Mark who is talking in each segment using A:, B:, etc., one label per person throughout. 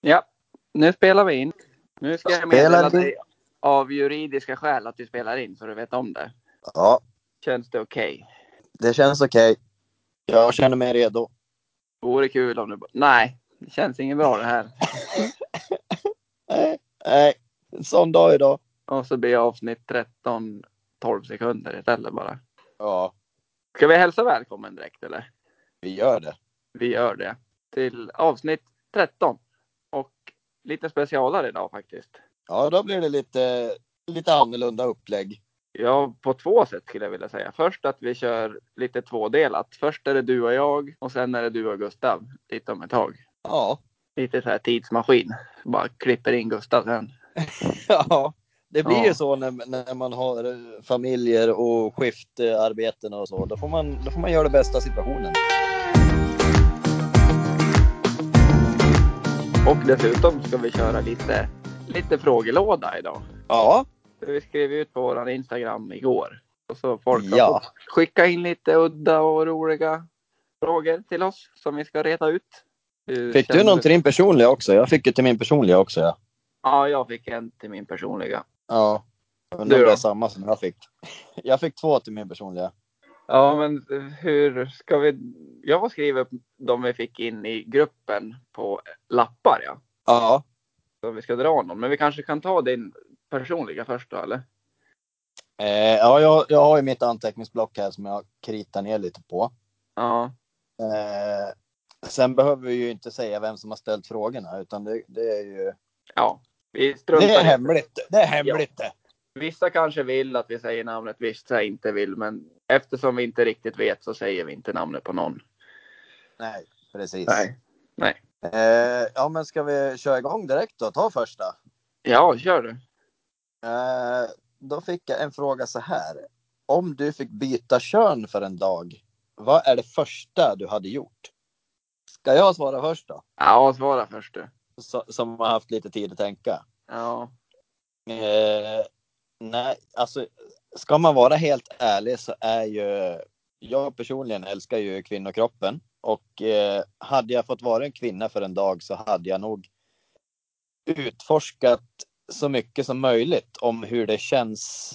A: Ja, nu spelar vi in. Nu ska jag
B: Spelar
A: meddela
B: in.
A: dig av juridiska skäl att du spelar in så du vet om det.
B: Ja,
A: Känns det okej?
B: det känns okej. Jag känner mig redo.
A: Vore kul om du... ba- Nej, det känns inget bra det här.
B: Nej, nej. En sån dag idag.
A: Och så blir avsnitt 13 12 sekunder istället bara.
B: Ja,
A: Ska vi hälsa välkommen direkt eller?
B: vi gör det.
A: Vi gör det. Till avsnitt 13. Och lite specialare idag faktiskt.
B: Ja, då blir det lite, lite annorlunda upplägg.
A: Ja, på två sätt skulle jag vilja säga. Först att vi kör lite tvådelat. Först är det du och jag och sen är det du och Gustav. Lite om ett tag.
B: Ja,
A: lite så här tidsmaskin. Bara klipper in Gustav sen.
B: ja. det blir
A: Ja.
B: ju så när, när man har eh, familjer och skiftarbeten och så. Då får man, då får man göra det bästa av situationen.
A: Och dessutom ska vi köra lite, lite frågelåda idag.
B: Ja,
A: Vi skrev ut på våran Instagram igår. Och så folk har
B: Ja.
A: fått skicka in lite udda och roliga frågor till oss som vi ska reta ut. Hur
B: fick du
A: känner
B: någon till din personliga också? Jag fick ju till min personliga också. Ja,
A: Ja, jag fick en till min personliga.
B: ja. Undrar
A: Du
B: om
A: då?
B: det är samma som jag fick. Jag fick två till min personliga.
A: Ja, men hur ska vi... Jag skriver de vi fick in i gruppen på lappar, ja.
B: Ja,
A: Så vi ska dra någon. Men vi kanske kan ta din personliga först då, eller?
B: eh, ja jag, jag har ju mitt anteckningsblock här som jag kritar ner lite på.
A: Ja.
B: Eh, sen behöver vi ju inte säga vem som har ställt frågorna, utan det, det är ju...
A: Ja, vi struntar
B: Det är
A: i det.
B: hemligt! Det är hemligt det!
A: Vissa kanske vill att vi säger namnet, vissa inte vill. Men eftersom vi inte riktigt vet så säger vi inte namnet på någon.
B: Nej, precis.
A: Nej.
B: Eh, ja, men ska vi köra igång direkt då? Ta första.
A: Ja, kör du.
B: Eh, då fick jag en fråga så här. Om du fick byta kön för en dag, vad är det första du hade gjort? Ska jag svara först då?
A: Ja, svara först du.
B: Så, som har haft lite tid att tänka.
A: Ja.
B: Eh, nej, alltså ska man vara helt ärlig så är ju jag personligen älskar ju kvinnokroppen och eh, hade jag fått vara en kvinna för en dag så hade jag nog utforskat så mycket som möjligt om hur det känns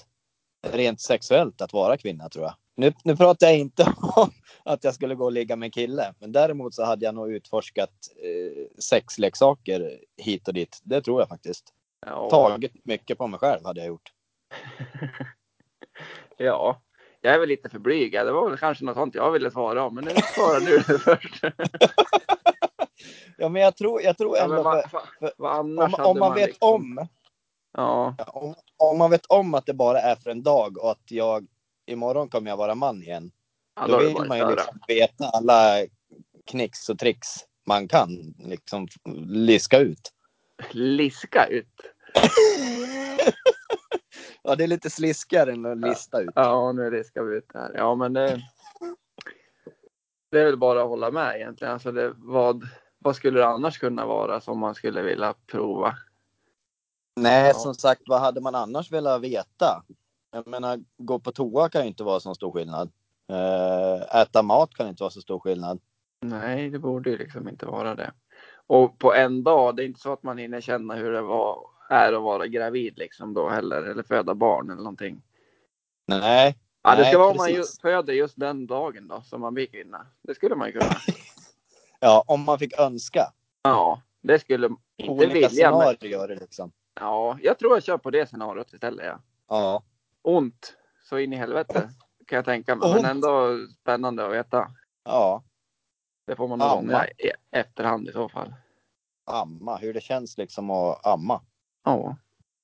B: rent sexuellt att vara kvinna tror jag. Nu, nu pratar jag inte om att jag skulle gå och ligga med en kille, men däremot så hade jag nog utforskat eh, sexleksaker hit och dit. Det tror jag faktiskt
A: Ja.
B: tagit mycket på mig själv hade jag gjort.
A: ja. Jag är väl lite för blyg. Ja, Det var väl kanske något sånt jag ville svara om. Men nu svarar du först.
B: Ja, men jag tror, jag tror
A: Ja,
B: ändå
A: men
B: för,
A: vad, vad, vad annars
B: om,
A: hade
B: om man vet
A: liksom-
B: om,
A: Ja.
B: ja, om, om man vet om att det bara är för en dag och att jag imorgon kommer jag vara man igen.
A: ja
B: då
A: är det
B: vill
A: bara
B: man ju
A: att köra.
B: liksom veta alla knicks och tricks man kan liksom liska ut.
A: Liska ut.
B: ja, det är lite sliskigare än att lista ut.
A: Ja, nu riskar vi ut det här. Ja, men det, det är väl bara att hålla med egentligen. Alltså det, vad, vad skulle det annars kunna vara som man skulle vilja prova?
B: Nej,
A: Ja.
B: som sagt, vad hade man annars velat veta? Jag menar, gå på toa kan ju inte vara så stor skillnad. Eh, äta mat kan inte vara så stor skillnad.
A: Nej, det borde ju liksom inte vara det. Och på en dag, det är inte så att man hinner känna hur det var, är att vara gravid liksom då heller, eller föda barn eller någonting.
B: Nej,
A: Ja, det ska
B: Nej,
A: vara om man ju,
B: precis.
A: föder just den dagen då som man blir kvinna. Det skulle man ju kunna.
B: Ja, om man fick önska.
A: Ja, det skulle inte
B: Olika
A: vilja. Men,
B: scenarier liksom.
A: ja, jag tror jag kör på det scenariot istället. Ja.
B: Ja.
A: ont så in i helvete kan jag tänka mig. Men
B: Ont.
A: ändå spännande att veta.
B: Ja.
A: Det får man nog
B: Amma.
A: ångra i efterhand i så fall.
B: Amma, hur det känns liksom att amma.
A: Ja.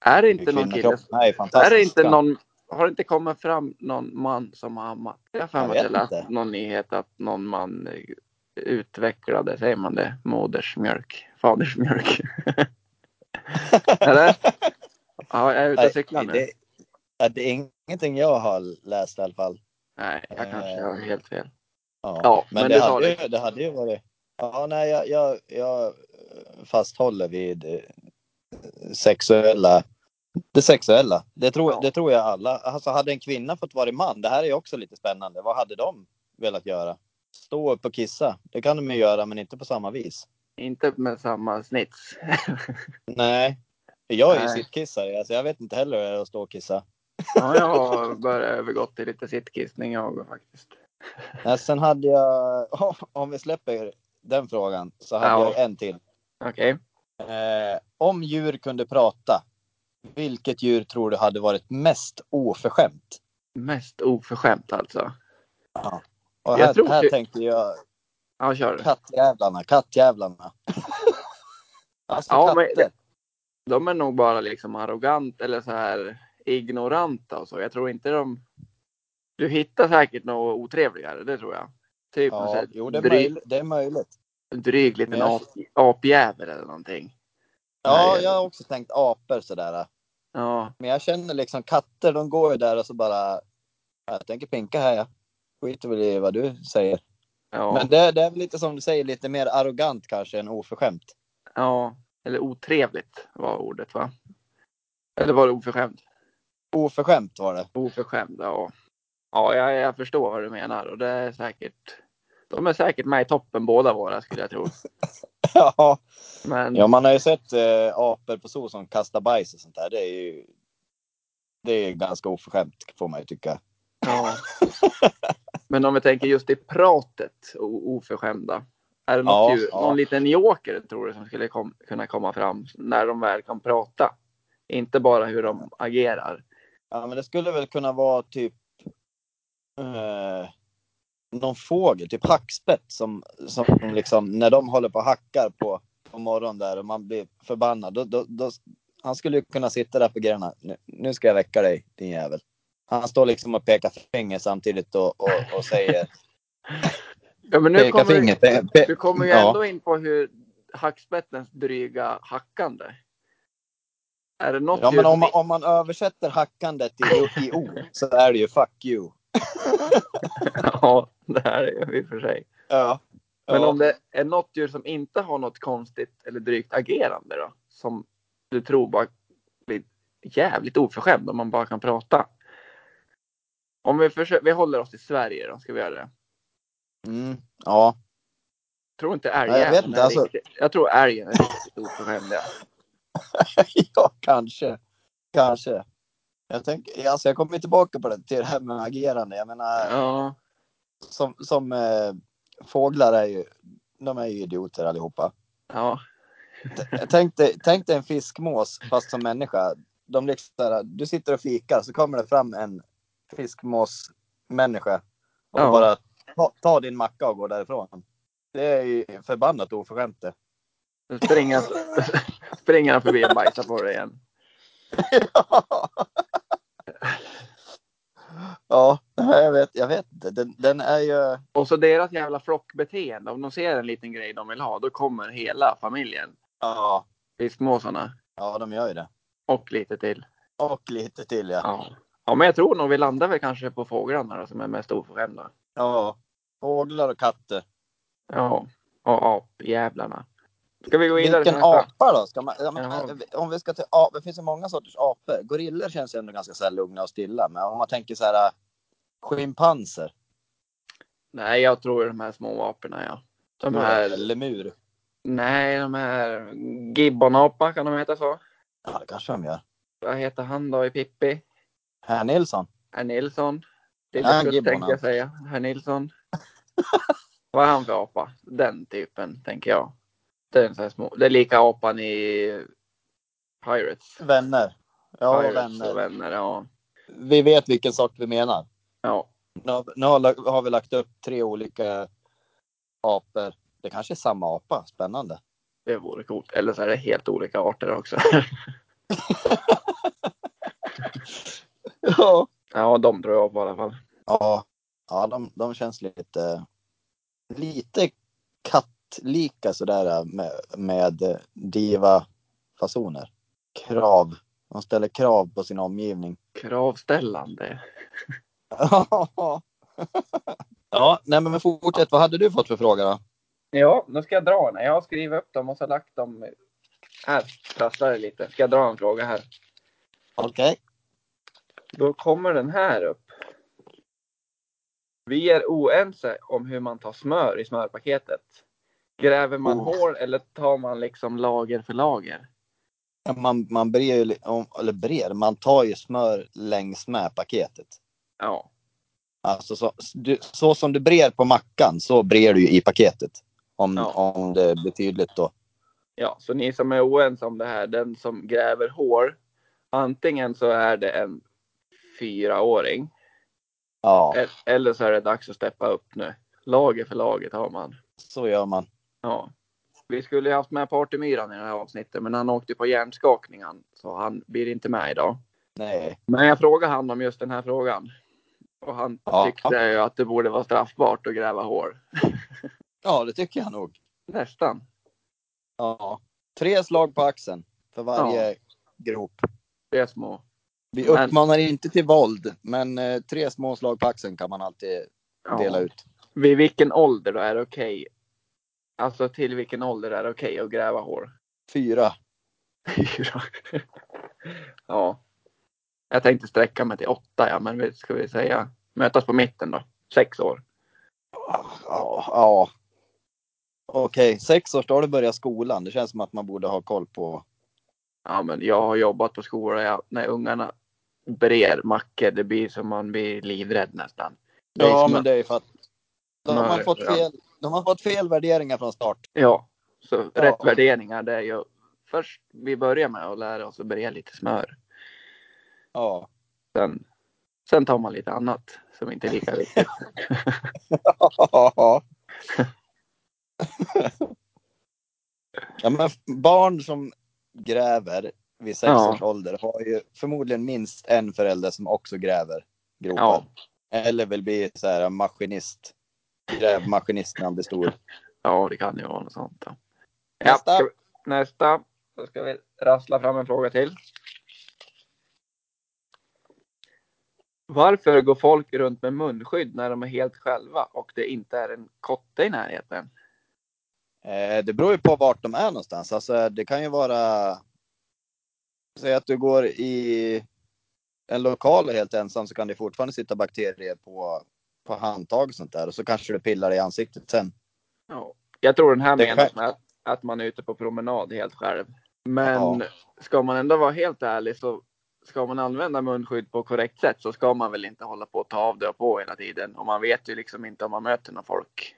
A: Är det inte någon kille?
B: Kvinnokroppen är ju
A: Är
B: fantastisk.
A: det inte någon? Har det inte kommit fram någon man som har ammat? Jag har för
B: Jag
A: mig att jag
B: vet
A: läste
B: inte.
A: någon nyhet att någon man eh, utvecklade, säger man det, modersmjölk, fadersmjölk. Eller? Ja, jag är ute och cyklar
B: Nej,
A: nu.
B: det, ja, det är ingenting jag har läst i alla fall.
A: Nej, jag kanske
B: Eh.
A: har helt fel.
B: Ja,
A: Ja,
B: men,
A: men
B: det,
A: du sa
B: hade
A: det.
B: Ju, det hade ju varit... Ja, nej, jag, jag, jag fasthåller vid eh, sexuella... Det sexuella. Det tror,
A: Ja.
B: det tror jag alla. Alltså hade en kvinna fått vara man, det här är ju också lite spännande. Vad hade de velat göra? Stå upp och kissa. Det kan de ju göra, men inte på samma vis.
A: Inte med samma snits.
B: Nej. Jag är ju
A: Nej.
B: sittkissare, alltså jag vet inte heller hur det är att stå och kissa.
A: Ja, jag har börjat övergå till lite sittkissning jag faktiskt.
B: Nej, sen hade jag, om vi släpper den frågan, så hade
A: Ja.
B: jag en till.
A: Okej.
B: Eh, om djur kunde prata, vilket djur tror du hade varit mest oförskämt?
A: Mest oförskämt alltså.
B: Och
A: Jag
B: här,
A: tror
B: här
A: det-
B: tänkte jag
A: Ja, kör du.
B: kattjävlarna, kattjävlarna. alltså
A: Ja, men-
B: katter.
A: De är nog bara liksom arrogant eller så här ignoranta och så. Jag tror inte de... Du hittar säkert något otrevligare, det tror jag. Typ någon så
B: Ja,
A: här
B: jo, det är,
A: dryg,
B: möjl- det är möjligt.
A: dryg liten
B: Men jag-
A: ap- apjävel eller någonting.
B: Ja,
A: Nej.
B: jag har också tänkt apor sådär.
A: Ja,
B: Men jag känner liksom katter, de går ju där och så bara... "Ja, Jag tänker pinka här, jag skiter väl i vad du säger.
A: ja,
B: Men det, det är väl lite som du säger, lite mer arrogant kanske än oförskämt.
A: ja. Eller otrevligt var ordet va? Eller var det oförskämt?
B: Oförskämt var det.
A: Oförskämd, ja. Ja, jag, jag förstår vad du menar och det är säkert. De är säkert med i toppen båda våra skulle jag tro.
B: ja,
A: Men
B: Ja, man har ju sett eh, apor på zoo som kastar bajs och sånt där. Det är ju det är ju ganska oförskämt får man ju tycka.
A: Ja. Men om vi tänker just i pratet och oförskämda. Är det något
B: Ja,
A: djur,
B: ja.
A: någon liten joker tror du som skulle kom, kunna komma fram när de väl kan prata? Inte bara hur de agerar.
B: Ja, men det skulle väl kunna vara typ eh, någon fågel, typ hackspett som, som liksom när de håller på och hackar på, på morgonen där och man blir förbannad. Då, då, då, han skulle ju kunna sitta där på grenarna. Nu, nu ska jag väcka dig din jävel. Han står liksom och pekar finger samtidigt och, och, och säger
A: Ja, men nu
B: peka
A: kommer
B: finger.
A: du,
B: Pe, pe,
A: du kommer ju
B: ja.
A: ändå in på hur hackspettens dryga hackande. Är det något
B: Ja,
A: djur
B: men om
A: som
B: man, om man översätter hackandet i, i ord så är det ju fuck you.
A: Ja, det här är ju i och för sig.
B: Ja.
A: Men om det är något djur som inte har något konstigt eller drygt agerande då? Som du tror bara blir jävligt oförskämd om man bara kan prata. Om vi, försöker, vi håller oss i Sverige då, ska vi göra det?
B: Mm, ja.
A: Tror inte
B: Nej, jag vet
A: älgjäveln
B: inte,
A: är
B: alltså.
A: riktigt... Jag tror älgen är riktigt oförskämd. ja.
B: ja, kanske. Kanske. Jag, tänker, alltså jag kommer tillbaka på det, till det här med agerande. Jag menar,
A: Ja,
B: som, som eh, fåglar är ju, de är ju idioter allihopa.
A: ja,
B: Jag tänkte, tänk dig en fiskmås fast som människa. De liksom, så här, du sitter och fikar så kommer det fram en fiskmåsmänniska och
A: Ja.
B: bara ta, ta din macka och gå därifrån. Det är ju förbannat oförskämt det.
A: nu springer, springer han förbi och bajsar på dig igen.
B: ja, jag vet, jag vet inte. Den, den är ju...
A: Och så deras jävla flockbeteende. Om de ser en liten grej de vill ha, då kommer hela familjen.
B: Ja,
A: Fiskmåsarna.
B: ja de gör ju det.
A: Och lite till.
B: Och lite till ja.
A: Ja. ja, men jag tror nog vi landar väl kanske på fåglarna då, som är mest oförskämda.
B: ja. Fåglar och katter.
A: Ja, och apjävlarna. Ska vi gå vidare?
B: Vilken
A: till nästa?
B: apa då? Ska man, ja, men, eh,
A: Jaha.
B: om vi ska till apor, det finns ju många sorters apor. Gorillor känns ju ändå ganska så här lugna och stilla. Men om man tänker så här, äh, schimpanser.
A: Nej, jag tror de här små aporna ja. De här,
B: Lemur.
A: nej, de här gibbonapa kan de heta så.
B: Ja, det kanske de gör.
A: Vad heter han då i Pippi?
B: Herr Nilsson.
A: Herr Nilsson.
B: Ja,
A: Lilleputt
B: gibbon,
A: tänkte
B: ja.
A: jag säga. Herr Nilsson. Vad är han för apa? Den typen tänker jag. Det är, en sån här små. Det är lika apan i Pirates.
B: Vänner. Ja,
A: Pirates
B: vänner.
A: och vänner ja.
B: Vi vet vilken sort vi menar.
A: ja.
B: Nu har, nu har la- har vi lagt upp tre olika apor. Det kanske är samma apa. Spännande.
A: Det vore coolt. Eller så är det helt olika arter också.
B: Ja.
A: ja, de tror jag på i alla fall.
B: Ja, ja de, de känns lite, lite kattlika sådär äh, med, med diva-fasoner. Krav. De ställer krav på sin omgivning.
A: Kravställande.
B: ja, nej men fortsätt. Vad hade du fått för fråga då?
A: Ja, nu ska jag dra den. Jag har skrivit upp dem och så lagt dem. Här, trasslar det lite. Ska jag dra en fråga här?
B: Okej.
A: Då kommer den här upp. Vi är oense om hur man tar smör i smörpaketet. Gräver man
B: Oh.
A: hål eller tar man liksom lager för lager?
B: Ja, Man, man brer ju, li- om- eller brer, man tar ju smör längs med paketet.
A: Ja,
B: Alltså så, du, så som du brer på mackan så brer du ju i paketet. Om,
A: Ja.
B: om det blir tydligt då.
A: ja så ni som är oense om det här, den som gräver hål, antingen så är det en fyraåring
B: Ja,
A: e- eller så är det dags att steppa upp nu. Lager för lager tar man.
B: så gör man.
A: Ja. Vi skulle ju haft med Partymyran i det här avsnittet, men han åkte på hjärnskakning han, så han blir inte med idag.
B: Nej.
A: Men jag frågade han om just den här frågan. Och han
B: Ja.
A: tyckte ju att det borde vara straffbart att gräva hål.
B: Ja, det tycker jag nog.
A: Nästan.
B: Ja. Tre slag på axeln för varje grop.
A: Det är små.
B: Vi
A: Men-
B: uppmanar inte till våld, men eh, tre små slag på axeln kan man alltid
A: Ja.
B: dela ut.
A: Vid vilken ålder då är det okej? Alltså till vilken ålder är det okej att gräva hål?
B: Fyra.
A: Fyra. ja. Jag tänkte sträcka mig till åtta, ja, men vi- ska vi säga mötas på mitten då? Sex år.
B: Ja. ja. Okej, sex års då har du börjat skolan. Det känns som att man borde ha koll på.
A: Ja, men jag har jobbat på skola. Jag, när ungarna brer mackor, det blir som man blir livrädd nästan. Det är
B: Ja,
A: som
B: men
A: att-
B: det är ju för att de har,
A: Nej,
B: fått
A: ja.
B: fel, de har fått fel värderingar från start.
A: Ja, så
B: Ja.
A: rätt värderingar det är ju först vi börjar med att lära oss att bre lite smör.
B: Ja.
A: Sen, sen tar man lite annat som inte är lika viktigt.
B: ja men barn som gräver vid sex
A: Ja.
B: års ålder har ju förmodligen minst en förälder som också gräver gropen.
A: Ja,
B: Eller vill bli så här maskinist. Grävmaskinist när han blir stor.
A: ja det kan ju vara något sånt. Då.
B: Nästa.
A: Ja, ska vi, nästa. Då ska vi rassla fram en fråga till. Varför går folk runt med munskydd när de är helt själva och det inte är en kotte i närheten?
B: Eh, det beror ju på vart de är någonstans. Alltså, det kan ju vara... Säg att du går i en lokal och är helt ensam så kan det fortfarande sitta bakterier på, på handtag och sånt där. Och så kanske du pillar dig i ansiktet sen.
A: Ja. Jag tror den här
B: Det
A: menas
B: kan-
A: med att, att man är ute på promenad helt själv. Men
B: Ja.
A: ska man ändå vara helt ärlig så ska man använda munskydd på korrekt sätt så ska man väl inte hålla på att ta av det och på hela tiden. Och man vet ju liksom inte om man möter någon folk.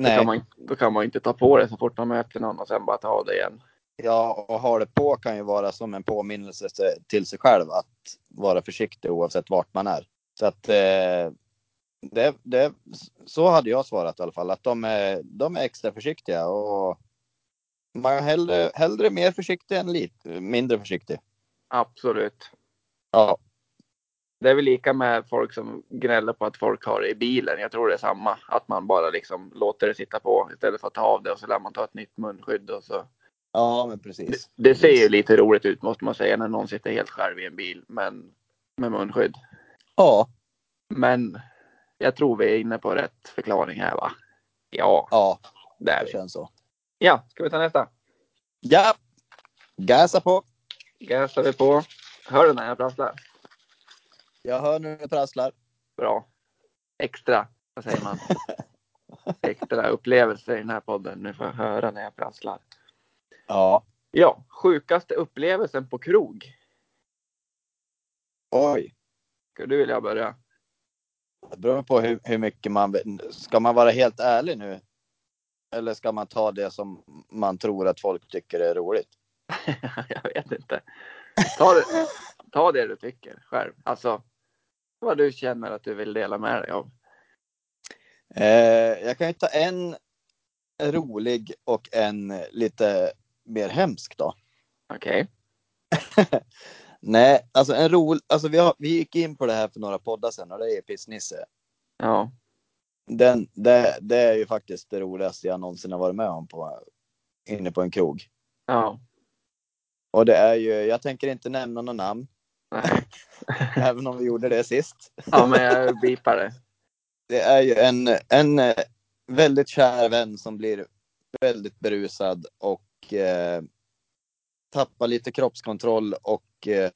A: Då kan,
B: Nej.
A: man, då kan man inte ta på det så fort man möter någon och sen bara ta av det igen.
B: Ja, och ha det på kan ju vara som en påminnelse se- till sig själv att vara försiktig oavsett vart man är. Så att eh, det, det, så hade jag svarat i alla fall, att de är, de är extra försiktiga och man är hellre, hellre mer försiktig än lite mindre försiktig.
A: Absolut.
B: Ja,
A: Det är väl lika med folk som gnäller på att folk har det i bilen. Jag tror det är samma. Att man bara liksom låter det sitta på istället för att ta av det och så lär man ta ett nytt munskydd och så
B: ja men precis.
A: Det, det ser ju lite roligt ut måste man säga när någon sitter helt själv i en bil men med munskydd.
B: Ja,
A: Men jag tror vi är inne på rätt förklaring här va? Ja,
B: ja,
A: det är
B: det
A: vi.
B: känns så.
A: Ja, ska vi ta nästa?
B: Ja, gasa på.
A: Gasar vi på. Hör du när jag prasslar?
B: Jag hör nu det prasslar.
A: Bra. Extra, vad säger man? Extra upplevelse i den här podden. Nu får jag höra när jag prasslar.
B: Ja,
A: Ja, sjukaste upplevelsen på krog.
B: oj.
A: Skulle du vilja börja?
B: Det beror på hur, hur mycket man Ska man vara helt ärlig nu? Eller ska man ta det som man tror att folk tycker är roligt?
A: jag vet inte. Ta det, ta det du tycker själv. Alltså vad du känner att du vill dela med dig av.
B: Eh, jag kan ju ta en rolig och en lite mer hemsk då.
A: Okej.
B: Nej, alltså en rolig... Alltså vi, har, vi gick in på det här för några poddar sedan och det är Pissnisse.
A: Ja.
B: Den, det, det är ju faktiskt det roligaste jag någonsin har varit med om på, inne på en krog.
A: Ja.
B: Och det är ju, jag tänker inte nämna några namn,
A: Nej.
B: även om vi gjorde det sist.
A: ja, men jag bipar det.
B: det är ju en, en eh, väldigt kär vän som blir väldigt berusad och eh, tappar lite kroppskontroll och eh,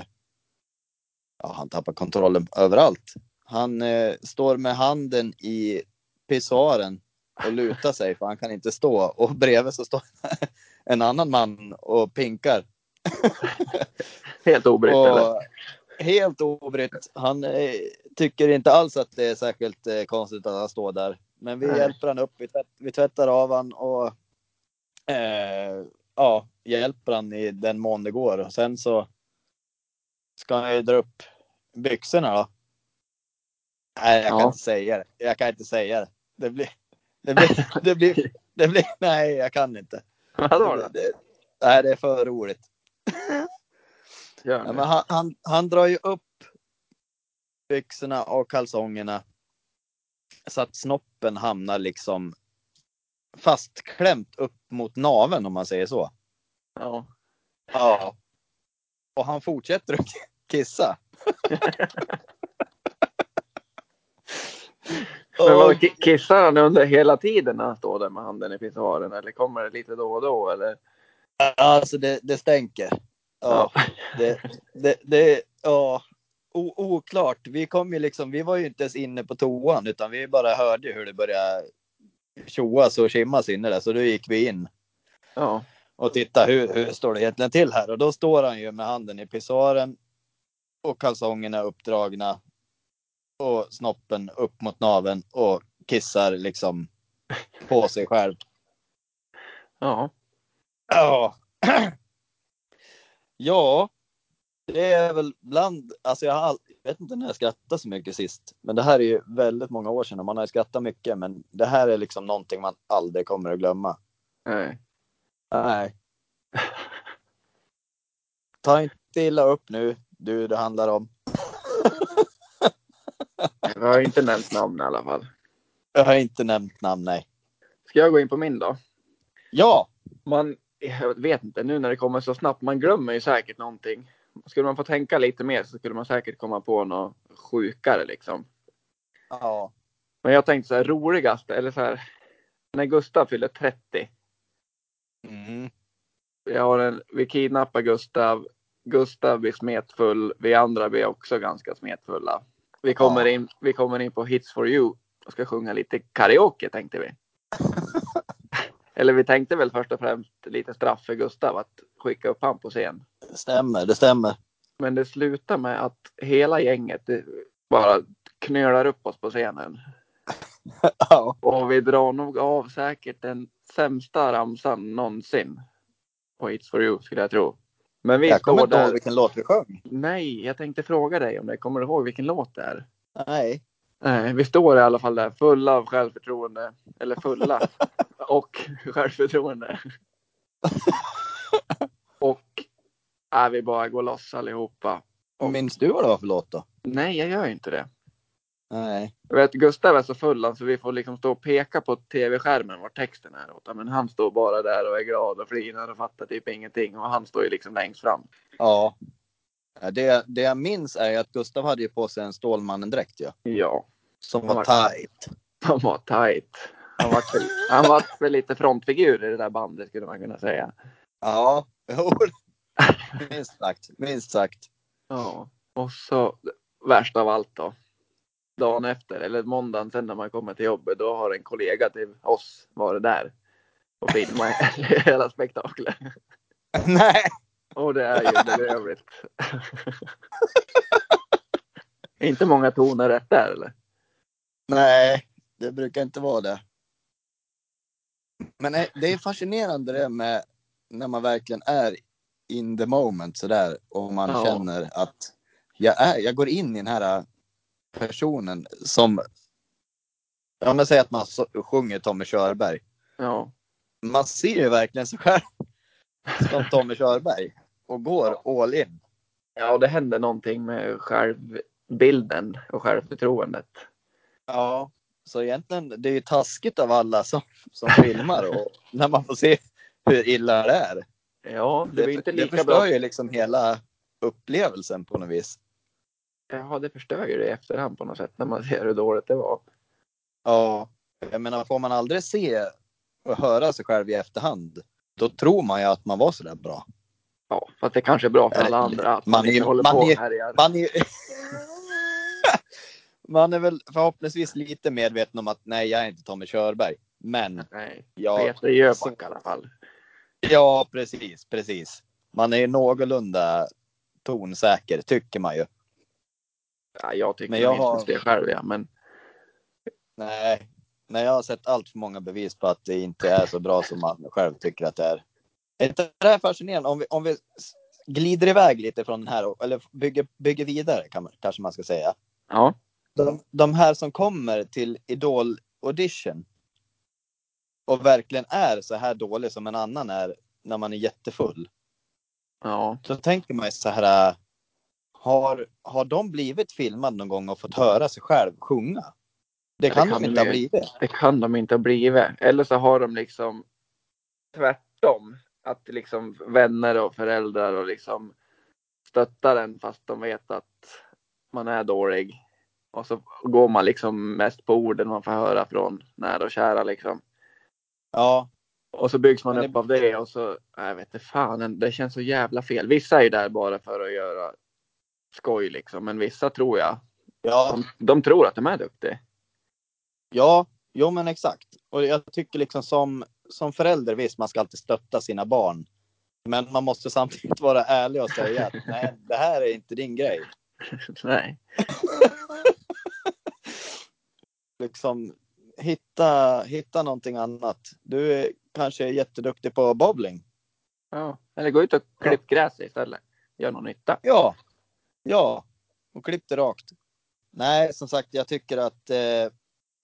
B: ja, han tappar kontrollen överallt. Han eh, står med handen i pissoaren och luta sig för han kan inte stå. Och bredvid så står en annan man och pinkar.
A: Helt obrytt eller?
B: Och helt obrytt. Han eh, tycker inte alls att det är särskilt eh, konstigt att han står där. Men vi
A: Nej.
B: hjälper han upp, vi, tvätt, vi tvättar av han och eh, ja, hjälper han i den mån det går. Och sen så ska han ju dra upp byxorna då. Nej, jag kan
A: Ja.
B: inte säga det. Jag kan inte säga det. Det blir, det blir, det blir, det blir, nej, jag kan inte.
A: Vadå då?
B: Det- Nej, det är för roligt.
A: Gör
B: Ja,
A: nu.
B: men han, han, han drar ju upp byxorna och kalsongerna så att snoppen hamnar liksom fastklämt upp mot naven om man säger så.
A: Ja.
B: Ja. Och han fortsätter att kissa.
A: Men vadå,
B: Och-
A: ki- kissar han under hela tiden när han står där med handen i pissoaren eller kommer det lite då och då eller?
B: Alltså det, det stänker. Ja, det, det, det, ja. O, oklart. Vi kom ju liksom, vi var ju inte ens inne på toan utan vi bara hörde ju hur det började tjoas och tjimmas inne där så då gick vi in
A: Ja.
B: och tittade hur, hur står det egentligen till här och då står han ju med handen i pissoaren och kalsongerna uppdragna och snoppen upp mot naven och kissar liksom på sig själv.
A: Ja.
B: Ja. ja. Det är väl bland, alltså jag, har all, jag vet inte när jag skrattade så mycket sist, men det här är ju väldigt många år sedan och man har ju skrattat mycket, men det här är liksom någonting man aldrig kommer att glömma.
A: Nej.
B: Nej. Ta inte illa upp nu, du det handlar om.
A: Jag har inte nämnt namn i alla fall.
B: Jag har inte nämnt namn, nej.
A: Ska jag gå in på min då?
B: Ja!
A: Man, jag vet inte, nu när det kommer så snabbt, man glömmer ju säkert någonting. Skulle man få tänka lite mer så skulle man säkert komma på något sjukare liksom.
B: Ja.
A: Men jag tänkte så här roligast, eller så här. När Gustav fyller 30.
B: Mm.
A: Jag har en, vi kidnappar Gustav. Gustav blir smetfull. Vi andra blir också ganska smetfulla. Vi kommer,
B: Ja.
A: in, vi kommer in på Hits for you och ska sjunga lite karaoke tänkte vi. Eller vi tänkte väl först och främst lite straff för Gustav att skicka upp han på scen.
B: Det stämmer, det stämmer.
A: Men det slutar med att hela gänget eh, bara knölar upp oss på scenen.
B: Ja.
A: Och vi drar nog av säkert den sämsta ramsan någonsin. På It's for you skulle jag tro. Men vi
B: Jag kommer
A: står
B: inte ihåg
A: där.
B: vilken låt vi sjöng.
A: Nej, jag tänkte fråga dig om det. Kommer du ihåg vilken låt det är?
B: Nej.
A: Nej, vi står i alla fall där fulla av självförtroende. Eller fulla. och självförtroende. och äh, vi bara går loss allihopa.
B: Och minns du vad det var för låt då?
A: Nej, jag gör inte det.
B: Nej.
A: Jag vet, Gustav är så full han, så vi får liksom stå och peka på tv-skärmen var texten är åt. Men han står bara där och är glad och flinar och fattar typ ingenting. Och han står ju liksom längst fram.
B: Ja. Ja, Det, det jag minns är ju att Gustav hade ju på sig en Stålmannen-dräkt ju.
A: Ja,
B: Som var
A: Ja.
B: tajt.
A: han var tight. Han var, väl, han var väl lite frontfigur i det där bandet skulle man kunna säga.
B: Ja, jo. Minst sagt. Minst sagt.
A: Ja. Och så värst av allt då. Dagen efter, eller måndagen sen när man kommer till jobbet, då har en kollega till oss varit där och filmat hela spektaklet.
B: Nej.
A: Och det är ju bedrövligt. inte många toner rätt där eller?
B: Nej, det brukar inte vara det. Men nej, det är fascinerande det med när man verkligen är in the moment sådär och man
A: Ja.
B: känner att jag, är, jag går in i den här personen som... Ja, men säg att man så- sjunger Tommy Körberg.
A: Ja.
B: man ser ju verkligen sig själv som Tommy Körberg och går all in.
A: Ja, det händer någonting med självbilden och självförtroendet.
B: Ja. Så egentligen, det är ju taskigt av alla som, som filmar och när man får se hur illa det är.
A: Ja, det
B: Det,
A: blir inte
B: det
A: lika
B: förstör
A: bra.
B: ju liksom hela upplevelsen på något vis.
A: Ja, det förstör ju det i efterhand på något sätt när man ser hur dåligt det var.
B: Ja. Jag menar, får man aldrig se och höra sig själv i efterhand, då tror man ju att man var sådär bra.
A: Ja, fast det kanske är bra för
B: Eller,
A: alla andra att
B: man
A: man,
B: är ju-
A: inte håller
B: man
A: på
B: är ju-
A: och härjar.
B: Man är ju... Man är väl förhoppningsvis lite medveten om att nej, jag är inte Tommy Körberg. Men
A: Nej.
B: jag
A: Peter Jöback
B: så-
A: i alla fall.
B: Ja, precis, precis. Man är ju någorlunda tonsäker, tycker man ju.
A: Ja, jag tycker
B: Men jag
A: inte
B: har-
A: det själv, ja, men
B: Nej, nej, jag har sett allt för många bevis på att det inte är så bra som man själv tycker att det är. Är inte det här fascinerande? Om vi, om vi s- glider iväg lite från den här, och- eller bygger, bygger vidare kan man, kanske man ska säga.
A: ja.
B: De, de här som kommer till Idol audition och verkligen är så här dålig som en annan är när man är jättefull.
A: ja.
B: då tänker man ju så här. äh, Har, har de blivit filmade någon gång och fått höra sig själv sjunga? Det
A: det
B: kan,
A: kan
B: de
A: de
B: inte ha
A: ju.
B: blivit.
A: Det kan de inte ha blivit. Eller så har de liksom tvärtom. Att liksom vänner och föräldrar och liksom stöttar en fast de vet att man är dålig. Och så går man liksom mest på orden man får höra från nära och kära liksom.
B: Ja,
A: Och så byggs man
B: Men det-
A: upp av det och så, nej, jag vet inte fan, det känns så jävla fel. Vissa är ju där bara för att göra skoj liksom, men vissa tror jag,
B: ja,
A: de, de tror att de är duktiga.
B: ja, jo men exakt. Och jag tycker liksom som, som förälder, visst man ska alltid stötta sina barn. Men man måste samtidigt vara ärlig och säga att nej, det här är inte din grej.
A: nej.
B: Liksom hitta, hitta någonting annat. Du är, kanske är jätteduktig på bowling.
A: Ja. Eller gå ut och klipp gräs istället. Gör någon nytta.
B: Ja, ja, och klipp det rakt. Nej, som sagt, jag tycker att eh,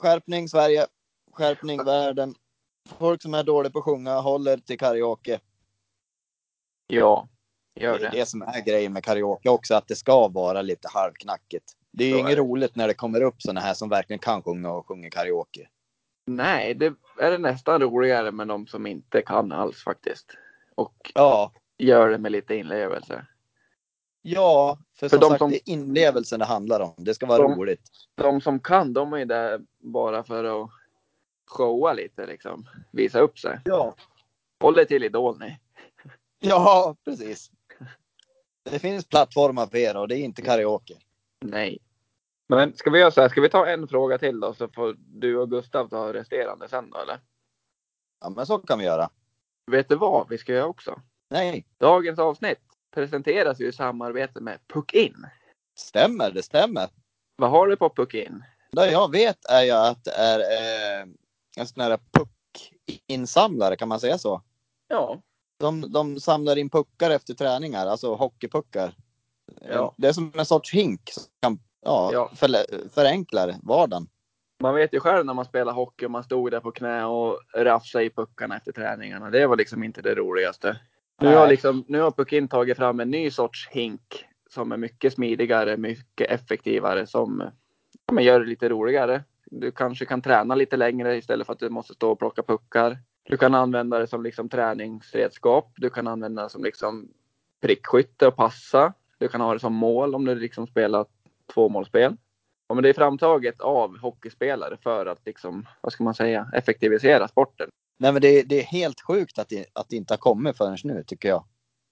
B: skärpning Sverige, skärpning världen. Folk som är dåliga på att sjunga håller till karaoke.
A: Ja,
B: Det
A: gör
B: är
A: det.
B: det som är grejen med karaoke också, att det ska vara lite halvknackigt. Det är ju
A: Så är
B: inget
A: det.
B: roligt när det kommer upp sådana här som verkligen kan sjunga och sjunger karaoke.
A: Nej, det är det nästan roligare med de som inte kan alls faktiskt. Och
B: Ja,
A: gör det med lite inlevelse.
B: ja, för,
A: För
B: som
A: de
B: sagt,
A: som-
B: det är inlevelsen det handlar om. Det ska vara
A: De-
B: roligt.
A: De som kan, de är ju där bara för att showa lite liksom. Visa upp sig.
B: Ja,
A: Håll er till Idol ni.
B: Ja, precis. Det finns plattformar för er och det är inte karaoke.
A: Nej. Men ska vi göra så här, ska vi ta en fråga till då så får du och Gustav ta resterande sen då eller?
B: Ja, men så kan vi göra.
A: Vet du vad vi ska göra också?
B: Nej,
A: Dagens avsnitt presenteras ju i samarbete med Puckin.
B: stämmer, det stämmer.
A: Vad har du på Puckin?
B: Det jag vet är ju att det är eh, en sån här puckinsamlare, kan man säga så?
A: Ja,
B: De, de samlar in puckar efter träningar, alltså hockeypuckar.
A: Ja.
B: Det är som en sorts hink som kan ja,
A: Ja.
B: förle- förenklar vardagen.
A: man vet ju själv när man spelar hockey och man stod där på knä och rafsade i puckarna efter träningarna. Det var liksom inte det roligaste. Nu har,
B: Nej.
A: liksom, nu har Puckin tagit fram en ny sorts hink som är mycket smidigare, mycket effektivare, som ja, men gör det lite roligare. Du kanske kan träna lite längre istället för att du måste stå och plocka puckar. Du kan använda det som liksom träningsredskap. Du kan använda det som liksom prickskytte och passa. Du kan ha det som mål om du liksom spelar tvåmålsspel. Ja, men det är framtaget av hockeyspelare för att liksom, vad ska man säga, effektivisera sporten.
B: Nej, men det, det är helt sjukt att det, att det inte har kommit förrän nu, tycker jag.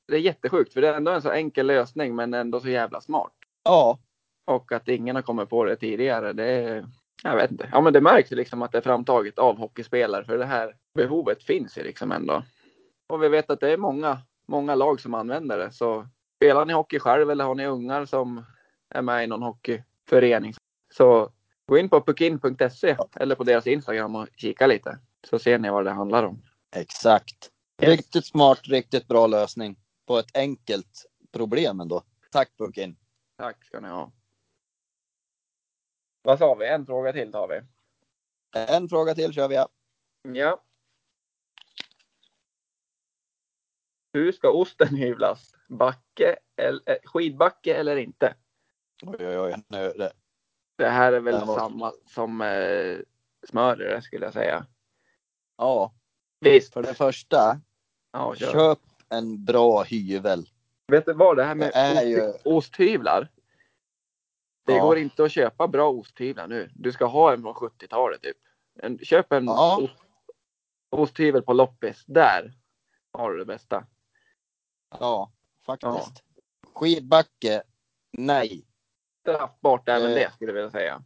A: Det är jättesjukt för det är ändå en så enkel lösning men ändå så jävla smart.
B: Ja,
A: Och att ingen har kommit på det tidigare, det är, jag vet inte. Ja men det märks ju liksom att det är framtaget av hockeyspelare för det här behovet finns ju liksom ändå. Och vi vet att det är många, många lag som använder det. Så spelar ni hockey själv eller har ni ungar som är med i någon hockeyförening så gå in på puckin.se eller på deras Instagram och kika lite. Så ser ni vad det handlar om.
B: Exakt.
A: Yes.
B: Riktigt smart, riktigt bra lösning på ett enkelt problem ändå. Tack Puckin.
A: Tack ska ni ha. Vad sa vi? En fråga till tar vi.
B: En fråga till kör vi. ja.
A: Ja. Hur ska osten hyvlas? Backe eller, eh, skidbacke eller inte?
B: Oj, oj, oj. Nu, är det.
A: Det här är väl
B: Den var-
A: samma som eh, smörare skulle jag säga.
B: Ja,
A: Visst.
B: för det första,
A: Ja, kör.
B: köp en bra hyvel.
A: Vet du vad det här med
B: Det är
A: ost,
B: ju-
A: osthyvlar? Det
B: Ja.
A: går inte att köpa bra osthyvlar nu. Du ska ha en från 70-talet typ. En, köp en
B: Ja.
A: ost, osthyvel på loppis. Där har du det bästa.
B: Ja, faktiskt. Skidbacke, nej.
A: Straffbart även
B: Eh.
A: det skulle jag vilja säga.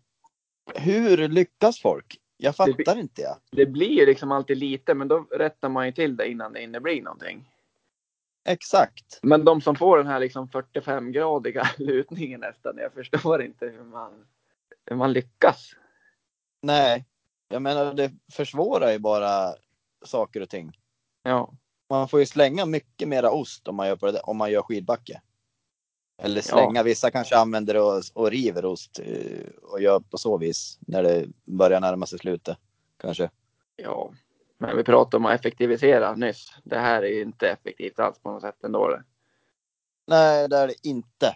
B: Hur lyckas folk? Jag fattar inte jag.
A: Det blir ju liksom alltid lite, men då rättar man ju till det innan det hinner bli någonting.
B: Exakt.
A: Men de som får den här liksom 45-gradiga lutningen nästan, jag förstår inte hur man, hur man lyckas.
B: Nej, jag menar det försvårar ju bara saker och ting.
A: Ja,
B: Man får ju slänga mycket mera ost om man gör, på det, där- om man gör skidbacke. Eller
A: Ja.
B: slänga, vissa kanske använder och, och river ost eh, och gör på så vis när det börjar närma sig slutet. Kanske.
A: ja. Men vi pratade om att effektivisera nyss. Det här är ju inte effektivt alls på något sätt ändå. Det.
B: Nej, det är det inte.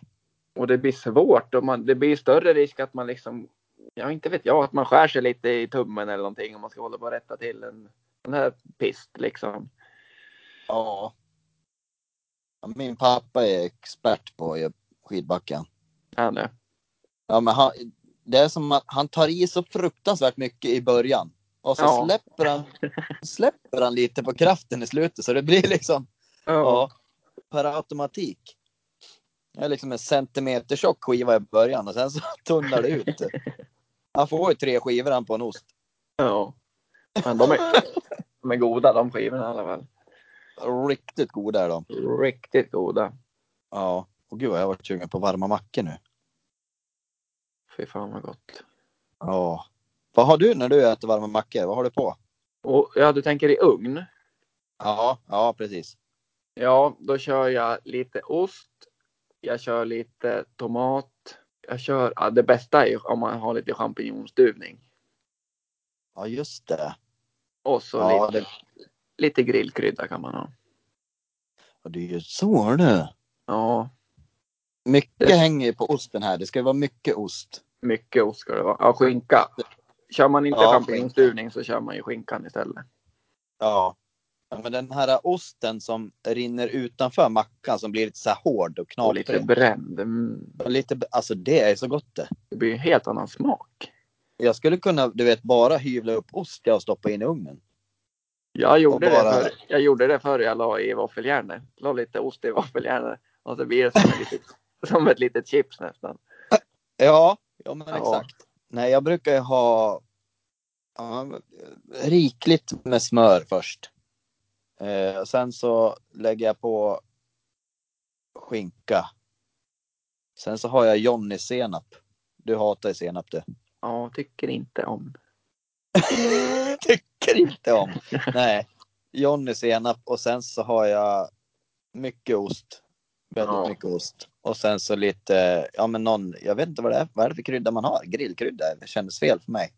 A: Och det blir svårt och man, det blir större risk att man liksom, ja inte vet jag, att man skär sig lite i tummen eller någonting om man ska hålla på och rätta till en sån här pist liksom.
B: Ja. Ja, Min pappa är expert på att göra skidbacken.
A: Ja, nu.
B: Ja, men han, det är som att han tar i så fruktansvärt mycket i början. Och så
A: Ja.
B: släpper, han, släpper han lite på kraften i slutet så det blir liksom ja, per automatik. Det är liksom en centimeter tjock skiva i början och sen så tunnar det ut. Han får ju tre skivor han på en ost.
A: ja. Men de är, de är goda de skivorna i alla fall.
B: Riktigt goda är de.
A: Riktigt goda.
B: Ja. Och gud vad jag har varit sugen på varma mackor nu.
A: Fy fan vad gott.
B: Ja. Vad har du när du äter varma mackor? Vad har du på?
A: Och ja, du tänker i ugn?
B: Ja, ja precis.
A: Ja, då kör jag lite ost. Jag kör lite tomat. Jag kör, ja, det bästa är ju om man har lite champinjonstuvning.
B: Ja, just det.
A: Och så
B: Ja,
A: lite,
B: det,
A: lite grillkrydda kan man ha.
B: och det är ju så det.
A: Ja,
B: Mycket
A: Det-
B: hänger ju på osten här. Det ska ju vara mycket ost.
A: mycket ost ska det vara. Ja, skinka. Kör man inte
B: Ja,
A: champinjonstuvning så kör man ju skinkan istället.
B: Ja. Men den här osten som rinner utanför mackan som blir lite så här hård och
A: Och
B: knaprig.
A: lite bränd. Mm.
B: Och lite, alltså det är så gott det.
A: Det blir ju en helt annan smak.
B: Jag skulle kunna, du vet, bara hyvla upp ost jag och stoppa in i ugnen.
A: Jag gjorde,
B: Och bara-
A: det förr, jag gjorde det förr jag la i våffeljärnet. La lite ost i våffeljärnet. Och så blir det som, ett litet, som ett litet chips nästan.
B: Ja, ja men
A: Ja.
B: exakt. Nej, jag brukar ju ha ja, rikligt med smör först. Eh, och sen så lägger jag på skinka. Sen så har jag Johnny-senap. Du hatar ju senap du.
A: Ja, tycker inte om.
B: Tycker inte om. Nej, Johnny senap och sen så har jag mycket ost. Väldigt
A: Ja.
B: mycket ost. Och sen så lite, ja men någon, jag vet inte vad det är, vad är det för krydda man har? Grillkrydda, det kändes fel för mig.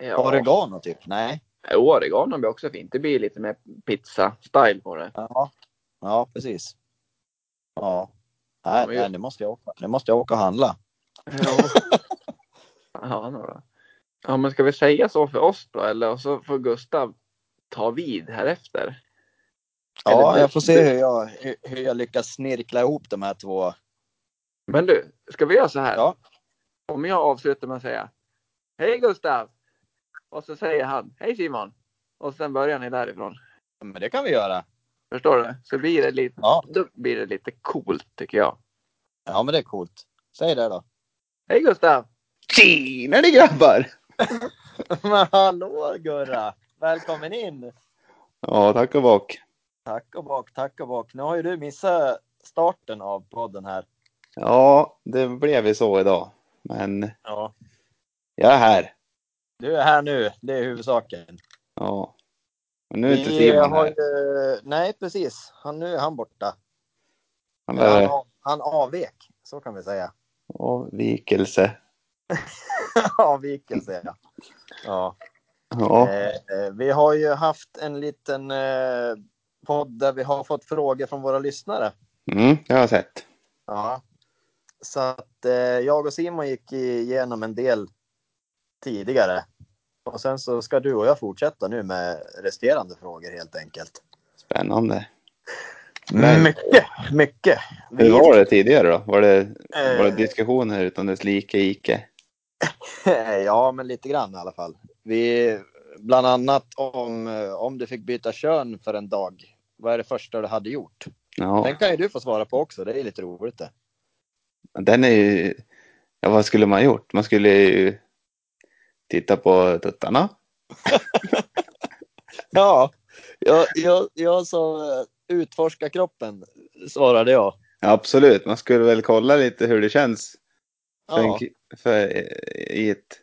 A: Ja.
B: Oregano typ, nej.
A: Jo, oregano blir också fint. Det blir lite mer pizza-style på det.
B: Ja, ja precis. Ja. Nej,
A: Ja, men ju-
B: nej, nu måste jag åka, nu måste jag åka och handla.
A: Ja. ja, nå då. ja, men ska vi säga så för oss då? Eller Och så får Gustav ta vid här efter. Eller
B: Ja,
A: du-
B: jag får se
A: du-
B: hur jag, hur, hur jag lyckas snirkla ihop de här två.
A: Men du, ska vi göra så här?
B: Ja.
A: Om jag avslutar med att säga Hej Gustav! Och så säger han Hej Simon! Och sen börjar ni därifrån.
B: Men det kan vi göra.
A: Förstår du? Så blir det lite,
B: Ja,
A: då blir det lite coolt tycker jag.
B: ja men det är coolt. Säg det då.
A: Hej Gustav!
B: Tjena ni grabbar! Men hallå Gurra! Välkommen in!
C: Ja, tack och bock.
B: Tack och bak, tack och bak. Nu har ju du missat starten av podden här.
C: Ja, det blev ju så idag. Men
B: Ja.
C: jag är här.
B: Du är här nu, det är huvudsaken.
C: Ja. Och nu är inte Simon
B: har
C: här.
B: ju... Nej precis, han, nu är han borta.
C: Han
B: Eller Han,
C: är
B: av- han avvek, så kan vi säga.
C: avvikelse.
B: Avvikelse ja. ja.
C: Ja.
B: Eh, eh, vi har ju haft en liten eh, podd där vi har fått frågor från våra lyssnare.
C: Mm, det har jag sett.
B: Ja. Så att eh, jag och Simon gick igenom en del tidigare. Och sen så ska du och jag fortsätta nu med resterande frågor helt enkelt.
C: Spännande. Men-
B: Mycket, mycket.
C: Hur var det tidigare då? Var det, var det
B: Eh.
C: diskussioner utan dess like ike?
B: ja, men lite grann i alla fall. Vi, bland annat om, eh, om du fick byta kön för en dag. Vad är det första du hade gjort?
C: Ja,
B: Den kan ju du få svara på också. Det är lite roligt det.
C: den är ju... Ja, vad skulle man ha gjort? Man skulle ju Titta på tuttarna.
B: Ja, jag, jag, jag sa eh, utforska kroppen, svarade jag.
C: Ja, absolut, man skulle väl kolla lite hur det känns för, en,
B: Ja,
C: ki- för, eh, i ett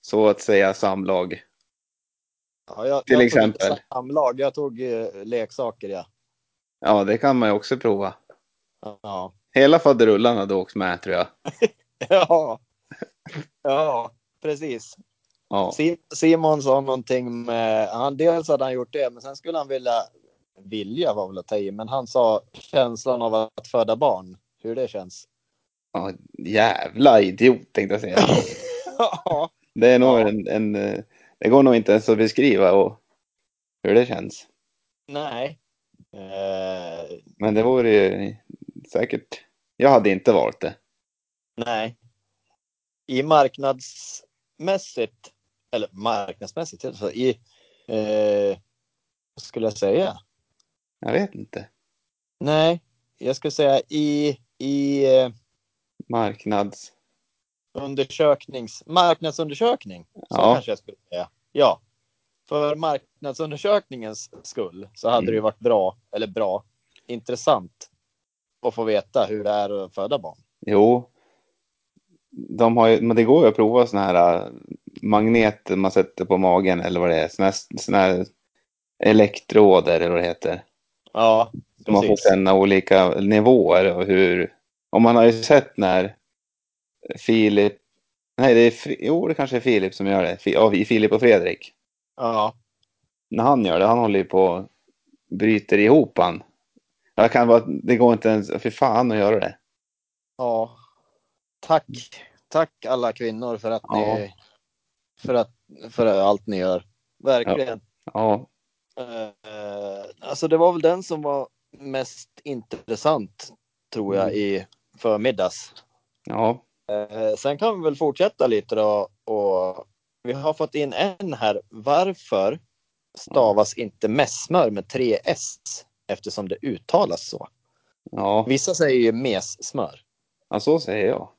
C: så att säga samlag.
B: ja, jag,
C: till
B: jag
C: exempel.
B: Tog samlag, jag tog eh, leksaker ja.
C: Ja, det kan man ju också prova.
B: Ja.
C: Hela faderullan hade åkt med tror jag.
B: Ja, ja precis.
C: Ja,
B: Sim- Simon sa någonting med, han, dels hade han gjort det, men sen skulle han vilja, vilja var väl att ta i, men han sa känslan av att föda barn, hur det känns.
C: ja jävla idiot tänkte jag säga.
B: Ja,
C: Det är nog
B: Ja.
C: en, en, eh, det går nog inte ens att beskriva och hur det känns.
B: nej. Eh,
C: Men det vore ju säkert. Jag hade inte valt det.
B: nej. I marknadsmässigt, eller marknadsmässigt, alltså i, eh, vad skulle jag säga?
C: Jag vet inte.
B: Nej, jag skulle säga i, i eh,
C: Marknads.
B: undersöknings, marknadsundersökning. Så
C: Ja.
B: kanske jag skulle säga. Ja. För marknadsundersökningens skull så hade
C: Mm.
B: det ju varit bra, eller bra, intressant att få veta hur det är att föda barn.
C: Jo. De har ju, men det går ju att prova såna här äh, magneter man sätter på magen eller vad det är. Såna här, såna här elektroder eller vad det heter.
B: Ja,
C: Man får
B: precis.
C: känna olika nivåer och hur... Om man har ju sett när Filip... Nej, det är... Fi- Jo, det kanske är Filip som gör det. Fi- Ja, Filip och Fredrik.
B: Ja,
C: När han gör det, han håller ju på och bryter ihop han. Jag kan bara... Det går inte ens... Fy fan att göra det.
B: ja. Tack. Tack alla kvinnor för att ni, för, att, för allt ni gör. Verkligen.
C: Ja.
B: Eh, alltså det var väl den som var mest intressant tror jag i förmiddags.
C: Ja.
B: Eh, sen kan vi väl fortsätta lite då. Och vi har fått in en här. Varför stavas inte messmör med tre s eftersom det uttalas så?
C: Ja.
B: Vissa säger ju messmör.
C: ja så säger jag.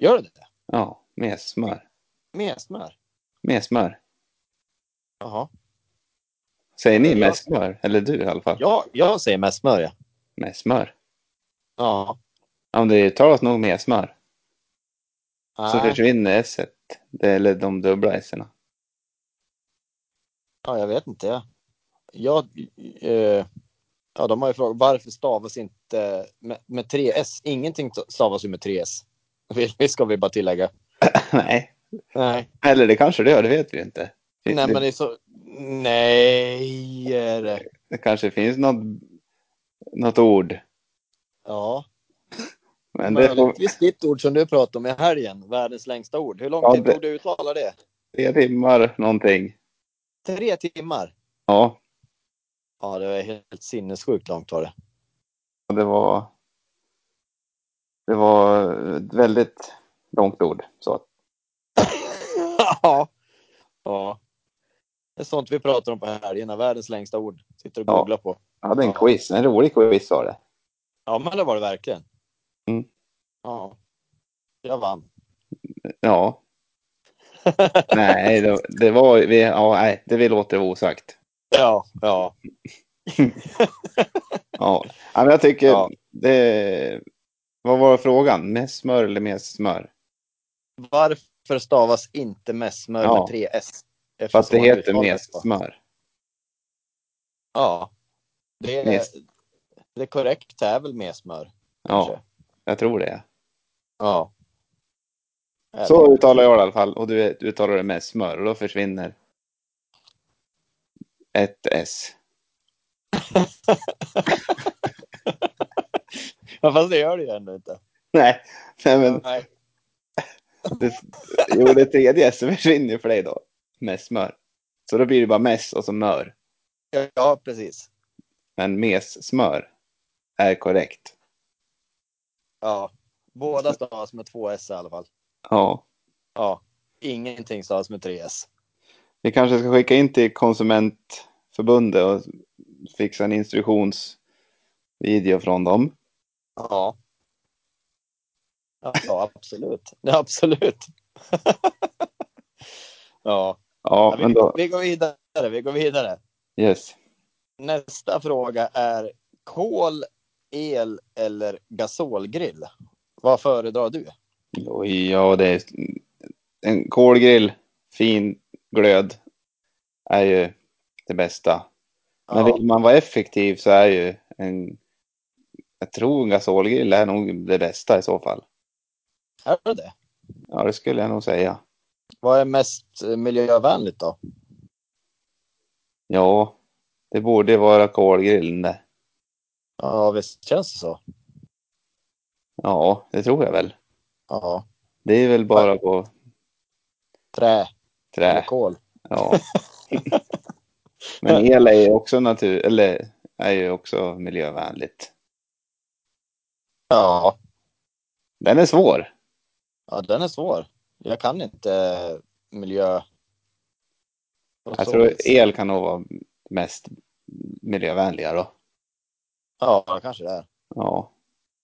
B: Gör det det?
C: Ja. Med smör.
B: Messmör?
C: Med smör.
B: Jaha.
C: Säger ni
B: Ja.
C: med smör? Eller du i alla fall.
B: Ja, jag säger messmör ja.
C: Med smör.
B: Ja.
C: Ja, men det uttalas nog med smör. Så
B: Nej.
C: försvinner s Eller de dubbla s
B: ja, jag vet inte. Ja. Jag, eh, ja, de har ju frågat varför stavas inte med, med tre s Ingenting stavas ju med tre s Det ska vi bara tillägga.
C: Nej.
B: Nej.
C: Eller det kanske det gör, det vet vi ju inte. Det,
B: Nej,
C: det,
B: men det är så... Nej, är det...
C: det kanske finns något, något ord.
B: Ja.
C: Men det får
B: Möjligtvis ditt ord som du pratade om i helgen, världens längsta ord. Hur lång
C: Ja,
B: tid
C: det-
B: tog det att uttala det?
C: det rimmar någonting.
B: Tre timmar?
C: Ja,
B: Ja, det var helt sinnessjukt långt var det.
C: och det var... Det var ett väldigt långt ord. Så att,
B: ja. ja. Det är sånt vi pratar om på helgerna, världens längsta ord. Sitter och
C: Ja.
B: googlar på.
C: jag hade en
B: Ja.
C: quiz, en rolig quiz var det.
B: Ja, men det var det verkligen.
C: Mm.
B: Ja. Jag vann.
C: Ja. Nej, det, det var... Vi, ja, nej, det vi låter vara osagt.
B: Ja, ja.
C: Ja. ja, men jag tycker...
B: Ja.
C: Det, vad var frågan? Med smör eller med smör?
B: Varför stavas inte messmör
C: Ja.
B: med tre s?
C: För
B: Eftersom
C: att det
B: man
C: heter
B: uttalar
C: med
B: så.
C: smör.
B: Ja. Det, är,
C: Mes.
B: det korrekta är väl med smör?
C: Ja,
B: kanske?
C: jag tror det.
B: ja. Eller-
C: Så uttalar jag det i alla fall. Och du du uttalar det med smör och då försvinner ett S.
B: Ja, fast det gör det ju ändå inte.
C: Nej, nej men
B: Nej.
C: det, jo, det tredje S försvinner ju för dig då. Med smör. Så då blir det bara mess och så mör.
B: Ja, precis.
C: Men mes smör är korrekt.
B: Ja. Båda stavas med två s i alla fall.
C: Ja,
B: Ja. Ingenting stavas med tre s.
C: vi kanske ska skicka in till Konsumentförbundet och fixa en instruktionsvideo från dem.
B: Ja. Ja, absolut. Ja, absolut. Ja,
C: Ja,
B: vi,
C: men då.
B: vi går vidare. Vi går vidare.
C: Yes.
B: Nästa fråga är kol, el eller gasolgrill? Vad föredrar du?
C: Oj, ja, det är en kolgrill, fin glöd är ju det bästa. Men
B: Ja.
C: vill man vara effektiv så är ju en, jag tror en gasolgrill är nog det bästa i så fall.
B: Är det det?
C: Ja, det skulle jag nog säga.
B: Vad är mest eh, miljövänligt då?
C: Ja, det borde vara kolgrillen det.
B: Ja, visst känns det så.
C: Ja, det tror jag väl.
B: Ja,
C: Det är väl bara på
B: trä
C: trä.
B: eller kol.
C: Ja. Men el är ju också natur, eller är ju också miljövänligt.
B: Ja,
C: Den är svår.
B: ja, den är svår. Jag kan inte eh, miljö.
C: Jag tror el kan nog vara mest miljövänliga då.
B: Ja, kanske det är.
C: Ja.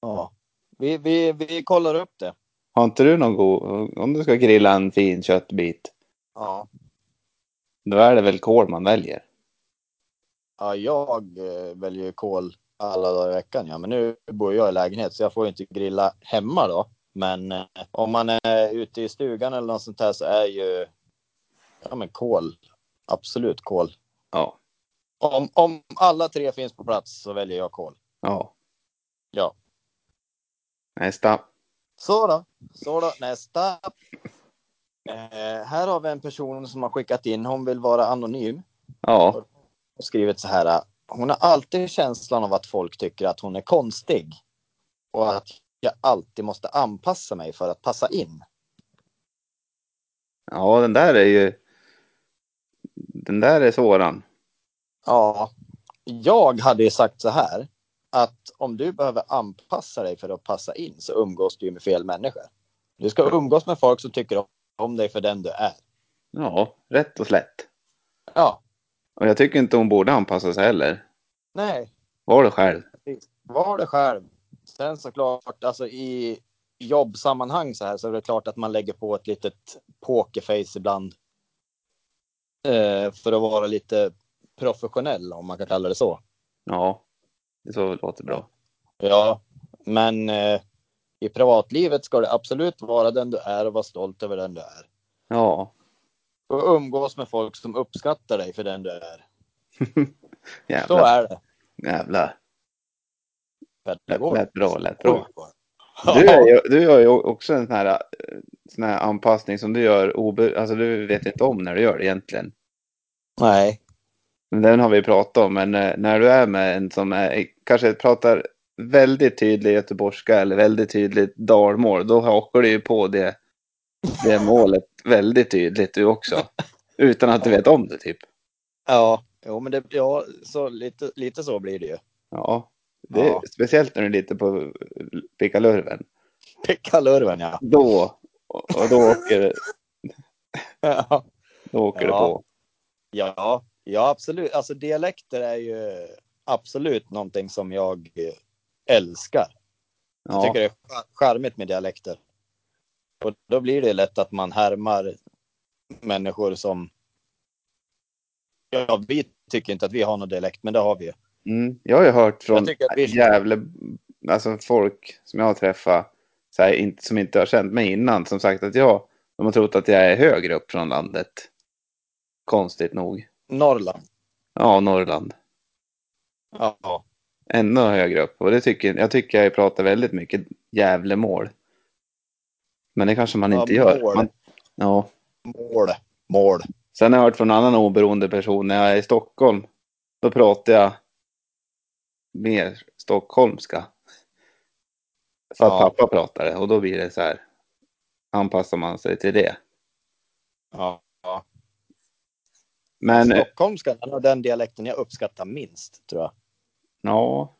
B: Ja. Vi, vi, vi kollar upp det.
C: Har inte du någon god, om du ska grilla en fin köttbit,
B: Ja.
C: då är det väl kol man väljer?
B: ja jag eh, väljer ju kol alla dagar i veckan. Ja. Men nu bor jag i lägenhet så jag får ju inte grilla hemma då. Men eh, om man är ute i stugan eller något sånt här så är ju ja, men kol. Absolut kol.
C: Ja.
B: Om, om alla tre finns på plats så väljer jag kol.
C: Ja.
B: Ja.
C: Nästa.
B: Så då, så då nästa. Eh, här har vi en person som har skickat in. Hon vill vara anonym.
C: Ja.
B: och skrivit så här. Hon har alltid känslan av att folk tycker att hon är konstig. Och att jag alltid måste anpassa mig för att passa in.
C: Ja, den där är ju... Den där är svåran.
B: Ja, jag hade ju sagt så här. Att om du behöver anpassa dig för att passa in så umgås du ju med fel människor. Du ska umgås med folk som tycker om dig för den du är.
C: Ja, rätt och slätt.
B: Ja,
C: Och jag tycker inte hon borde anpassa sig heller.
B: nej,
C: Var det själv.
B: var det själv. Sen såklart, alltså i jobbsammanhang så här så är det klart att man lägger på ett litet pokerface ibland. Eh, för att vara lite professionell om man kan kalla det så.
C: Ja. Det så låter bra.
B: Ja, men eh, i privatlivet ska du absolut vara den du är och vara stolt över den du är.
C: Ja.
B: Och umgås med folk som uppskattar dig för den du är. Så
C: Jävlar.
B: är det.
C: Jävlar. Lät,
B: Pedagogiskt.
C: lät bra, lät bra. Du, är
B: Ja,
C: ju, du gör ju också en sån här, eh, sån här anpassning som du gör obe, alltså du vet inte om när du gör det egentligen.
B: nej.
C: Men Den har vi pratat om, men eh, när du är med en som är, kanske pratar väldigt tydlig göteborgska eller väldigt tydligt dalmål, då hakar du ju på det, det målet väldigt tydligt du också. Utan att du vet om det typ.
B: Ja, jo, men det, ja, så lite, lite så blir det ju.
C: Ja, det är,
B: Ja.
C: speciellt när du är lite på pickalurven.
B: Pekka Lurven, ja.
C: Då, och då åker, det-
B: ja.
C: då åker
B: Ja.
C: det på.
B: Ja, ja, absolut. Alltså dialekter är ju absolut någonting som jag eh, älskar. Jag
C: Ja,
B: tycker det är cha- charmigt med dialekter. Och då blir det lätt att man härmar människor som... Ja, vi tycker inte att vi har någon dialekt, men det har vi ju.
C: mm, jag har ju hört
B: Jag
C: från
B: tycker att vi...
C: Gävle, alltså folk som jag har träffat så här, inte, som inte har känt mig innan, som sagt att jag, de har trott att jag är högre upp från landet. Konstigt nog.
B: Norrland.
C: Ja, Norrland.
B: Ja.
C: Ännu högre upp. Och det tycker, jag tycker jag pratar väldigt mycket Gävlemål. Men det kanske man
B: Ja,
C: inte gör.
B: mål.
C: Man, ja.
B: Mål. Mål.
C: Sen har jag hört från en annan oberoende person, när jag är i Stockholm, då pratar jag mer stockholmska. För att
B: Ja.
C: pappa pratar det och då blir det så här, anpassar man sig till det.
B: Ja.
C: Men eh,
B: Stockholmskan, den har den dialekten jag uppskattar minst, tror jag.
C: ja,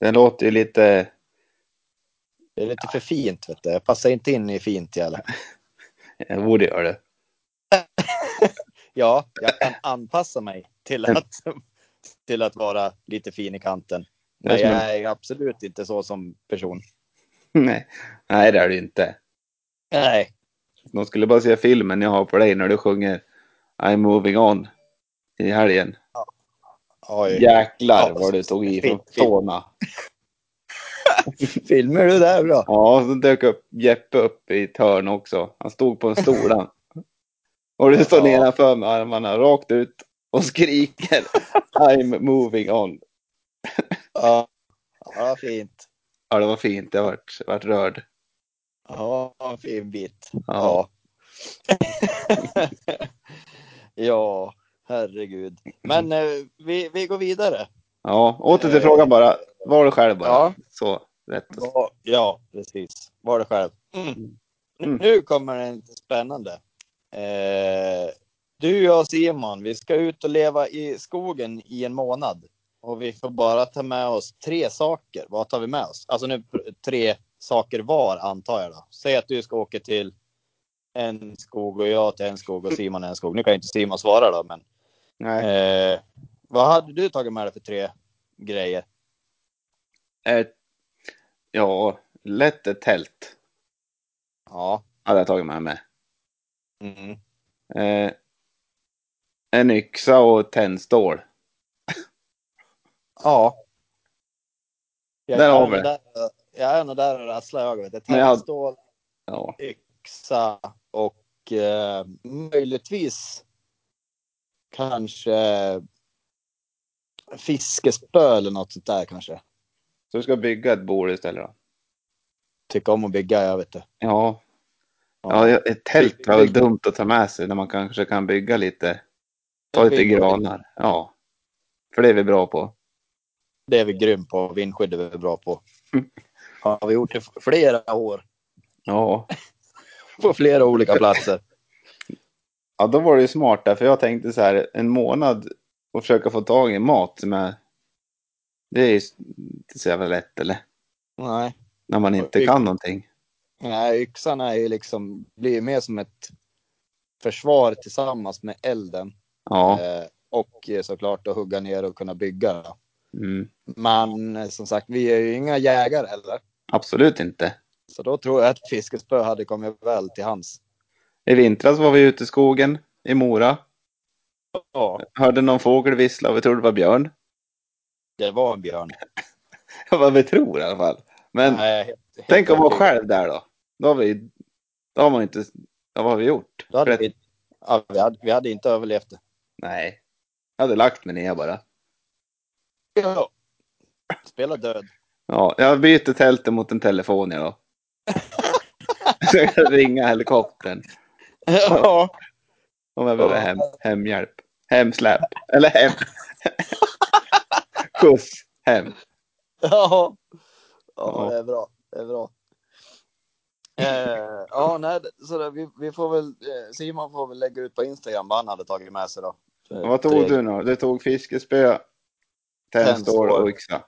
C: den låter ju lite,
B: Det är lite för fint, vet du. Jag passar inte in i fint dialekt.
C: jag borde göra det.
B: Ja, jag kan anpassa mig till att, till att vara lite fin i kanten.
C: Det är
B: Men
C: som
B: jag är absolut inte så som person.
C: Nej, nej det är det ju inte.
B: Nej,
C: De skulle bara se filmen jag har på dig när du sjunger I'm moving on i helgen.
B: Oj.
C: Jäklar
B: Ja,
C: vad du tog i från
B: fint, fint.
C: tårna.
B: Filmer du där bra?
C: Ja, så dök upp Jeppe upp i ett hörn också. Han stod på en stol. han. Och du står
B: Ja.
C: nedanför med armarna rakt ut och skriker I'm moving on.
B: Ja. Ja, fint.
C: Ja, det var fint. Jag vart, vart rörd.
B: Ja, en fin bit.
C: Ja.
B: Ja. ja, herregud. Men eh, vi, vi går vidare.
C: ja, åter till
B: Eh.
C: frågan bara. Var du själv bara.
B: Ja.
C: Så, rätt.
B: Ja, ja precis. Var det själv. Mm.
C: Mm.
B: Nu kommer det lite spännande. Eh, du, jag och Simon, vi ska ut och leva i skogen i en månad. Och vi får bara ta med oss tre saker. Vad tar vi med oss? Alltså nu pr- tre saker var antar jag då. Säg att du ska åka till en skog och jag till en skog och Simon en skog. Nu kan ju inte Simon svara då, men.
C: Nej.
B: Eh, vad hade du tagit med dig för tre grejer?
C: Ett, ja, lätt ett tält
B: Ja.
C: hade jag tagit med mig.
B: Mm.
C: Eh, en yxa och tändstål.
B: Ja. Jag
C: Där
B: är
C: har
B: nog
C: vi det.
B: där- Jag är nog där och rasslar i ögonen. Ett
C: Men jag-
B: tändstål,
C: Ja.
B: yxa och eh, möjligtvis kanske fiskespö eller något sånt där kanske.
C: Så du ska bygga ett bord istället då?
B: Tycker om att bygga, jag vet det.
C: Ja.
B: Ja.
C: Ja, ett tält var
B: Bygg-
C: väl dumt att ta med sig när man kanske kan bygga lite. Ta lite
B: Vindskydd.
C: granar. Ja. För det är vi bra på.
B: Det är vi grym på. Vindskydd är vi bra på.
C: Mm.
B: Har vi gjort det f- flera år
C: Ja.
B: på flera olika platser.
C: Ja, då var det ju smart där. För jag tänkte så här, en månad och försöka få tag i mat med. Det är ju inte så jävla lätt eller?
B: Nej.
C: När man inte kan någonting.
B: Nej, yxan är ju liksom, blir ju mer som ett försvar tillsammans med elden.
C: Ja.
B: Eh, och eh, såklart att hugga ner och kunna bygga. då.
C: Mm.
B: Men eh, som sagt, vi är ju inga jägare heller.
C: Absolut inte.
B: Så då tror jag att fiskespö hade kommit väl till hands.
C: I vintras var vi ute i skogen i Mora.
B: Ja,
C: Hörde någon fågel vissla och vi trodde det var björn.
B: det var en björn.
C: Vad vi tror i alla fall. Men
B: Nej, helt- helt
C: Tänk att vara
B: övertygad.
C: själv där då. Då har vi, då har man inte, ja, vad har vi gjort?
B: Då hade
C: Rätt-
B: vi, ja, vi, hade, vi hade inte överlevt det.
C: Nej. Jag hade lagt mig ner bara.
B: Ja. Spela död.
C: Ja, jag byter tältet mot en telefon jag då. Så jag kan ringa helikoptern
B: Ja.
C: om jag behöver hem, hemhjälp. Hemsläp. Eller hem. Skjuts hem.
B: Ja.
C: Ja.
B: ja, det är bra. Det är bra. Eh, ja, nej, så då, vi, vi får väl, eh, Simon får väl lägga ut på Instagram vad han hade tagit med sig då.
C: Och vad tog du nu? Du tog fiskespö, tändstål och yxa.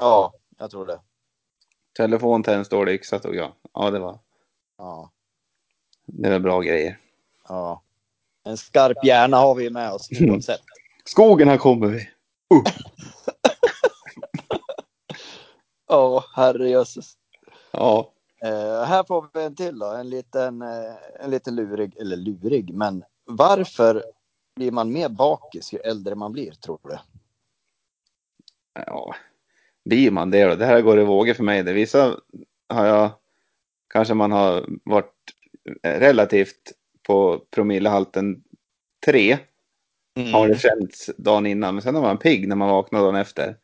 B: Ja, jag tror det.
C: Telefon, tändstål och yxa tog jag. Ja, det var,
B: Ja,
C: det var bra grejer.
B: ja. En skarp hjärna har vi med oss nu oavsett.
C: Skogen, här kommer vi.
B: Ja, herrejösses.
C: Ja.
B: Eh, här får vi en till då, en liten, eh, en liten lurig, eller lurig, men varför blir man mer bakis ju äldre man blir tror du?
C: ja, blir man det då? Det här går i vågor för mig. Det vissa har jag, kanske man har varit relativt på promillehalten tre har det känts dagen innan. Men sen är man pigg när man vaknar dagen efter.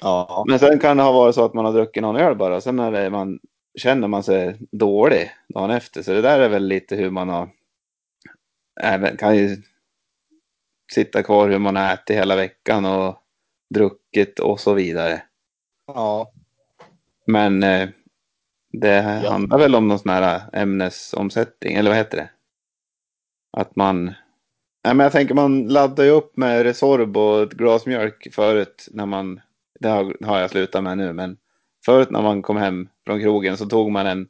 B: Ja,
C: Men sen kan det ha varit så att man har druckit någon öl bara. Sen är det man, känner man sig dålig dagen efter. Så det där är väl lite hur man har, även, kan ju sitta kvar hur man har ätit hela veckan och druckit och så vidare.
B: ja,
C: Men eh, det
B: Ja.
C: handlar väl om någon sån här eh, ämnesomsättning, eller vad heter det? Att man... Nej, men jag tänker man laddar ju upp med Resorb och ett glas mjölk förut när man... Det har, har jag slutat med nu, men förut när man kom hem från krogen så tog man en,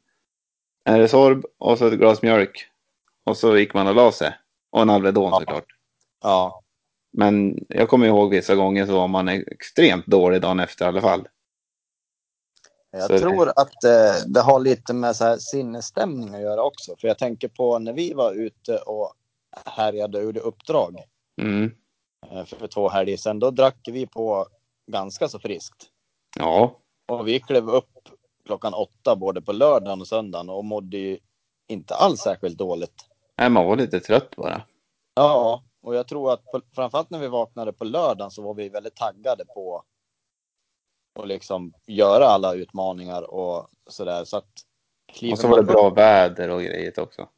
C: en Resorb och så ett glas mjölk. Och så gick man och la sig. Och en Alvedon
B: Ja.
C: såklart.
B: ja,
C: Men jag kommer ihåg vissa gånger så var man extremt dålig dagen efter i alla fall.
B: Jag
C: Så det-
B: tror att eh, det har lite med så här sinnesstämning att göra också. För jag tänker på när vi var ute och härjade och gjorde uppdrag
C: Mm.
B: eh, för två helger sedan, då drack vi på ganska så friskt.
C: Ja.
B: Och vi klev upp klockan åtta både på lördagen och söndagen och mådde ju inte alls särskilt dåligt.
C: Nej, man var lite trött bara.
B: Ja, och jag tror att på, framförallt när vi vaknade på lördagen så var vi väldigt taggade på att liksom göra alla utmaningar och sådär. Så att kliver
C: Och så var det
B: man upp-
C: bra väder och grejer också.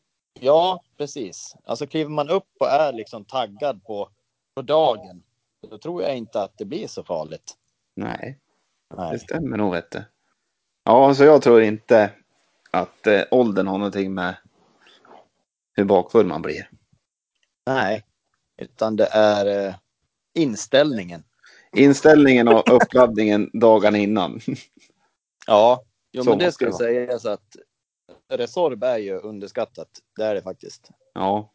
B: Ja, precis. Alltså kliver man upp och är liksom taggad på, på dagen, då tror jag inte att det blir så farligt.
C: Nej. Det
B: Nej.
C: stämmer nog vet du. Ja, så jag tror inte att eh, åldern har någonting med hur bakfull man blir.
B: Nej, utan det är eh, inställningen.
C: Inställningen och uppladdningen dagarna innan.
B: Ja, jo,
C: Så
B: men det
C: måste
B: ska
C: det
B: jag säga så att Resorb är ju underskattat. Det är det faktiskt.
C: Ja,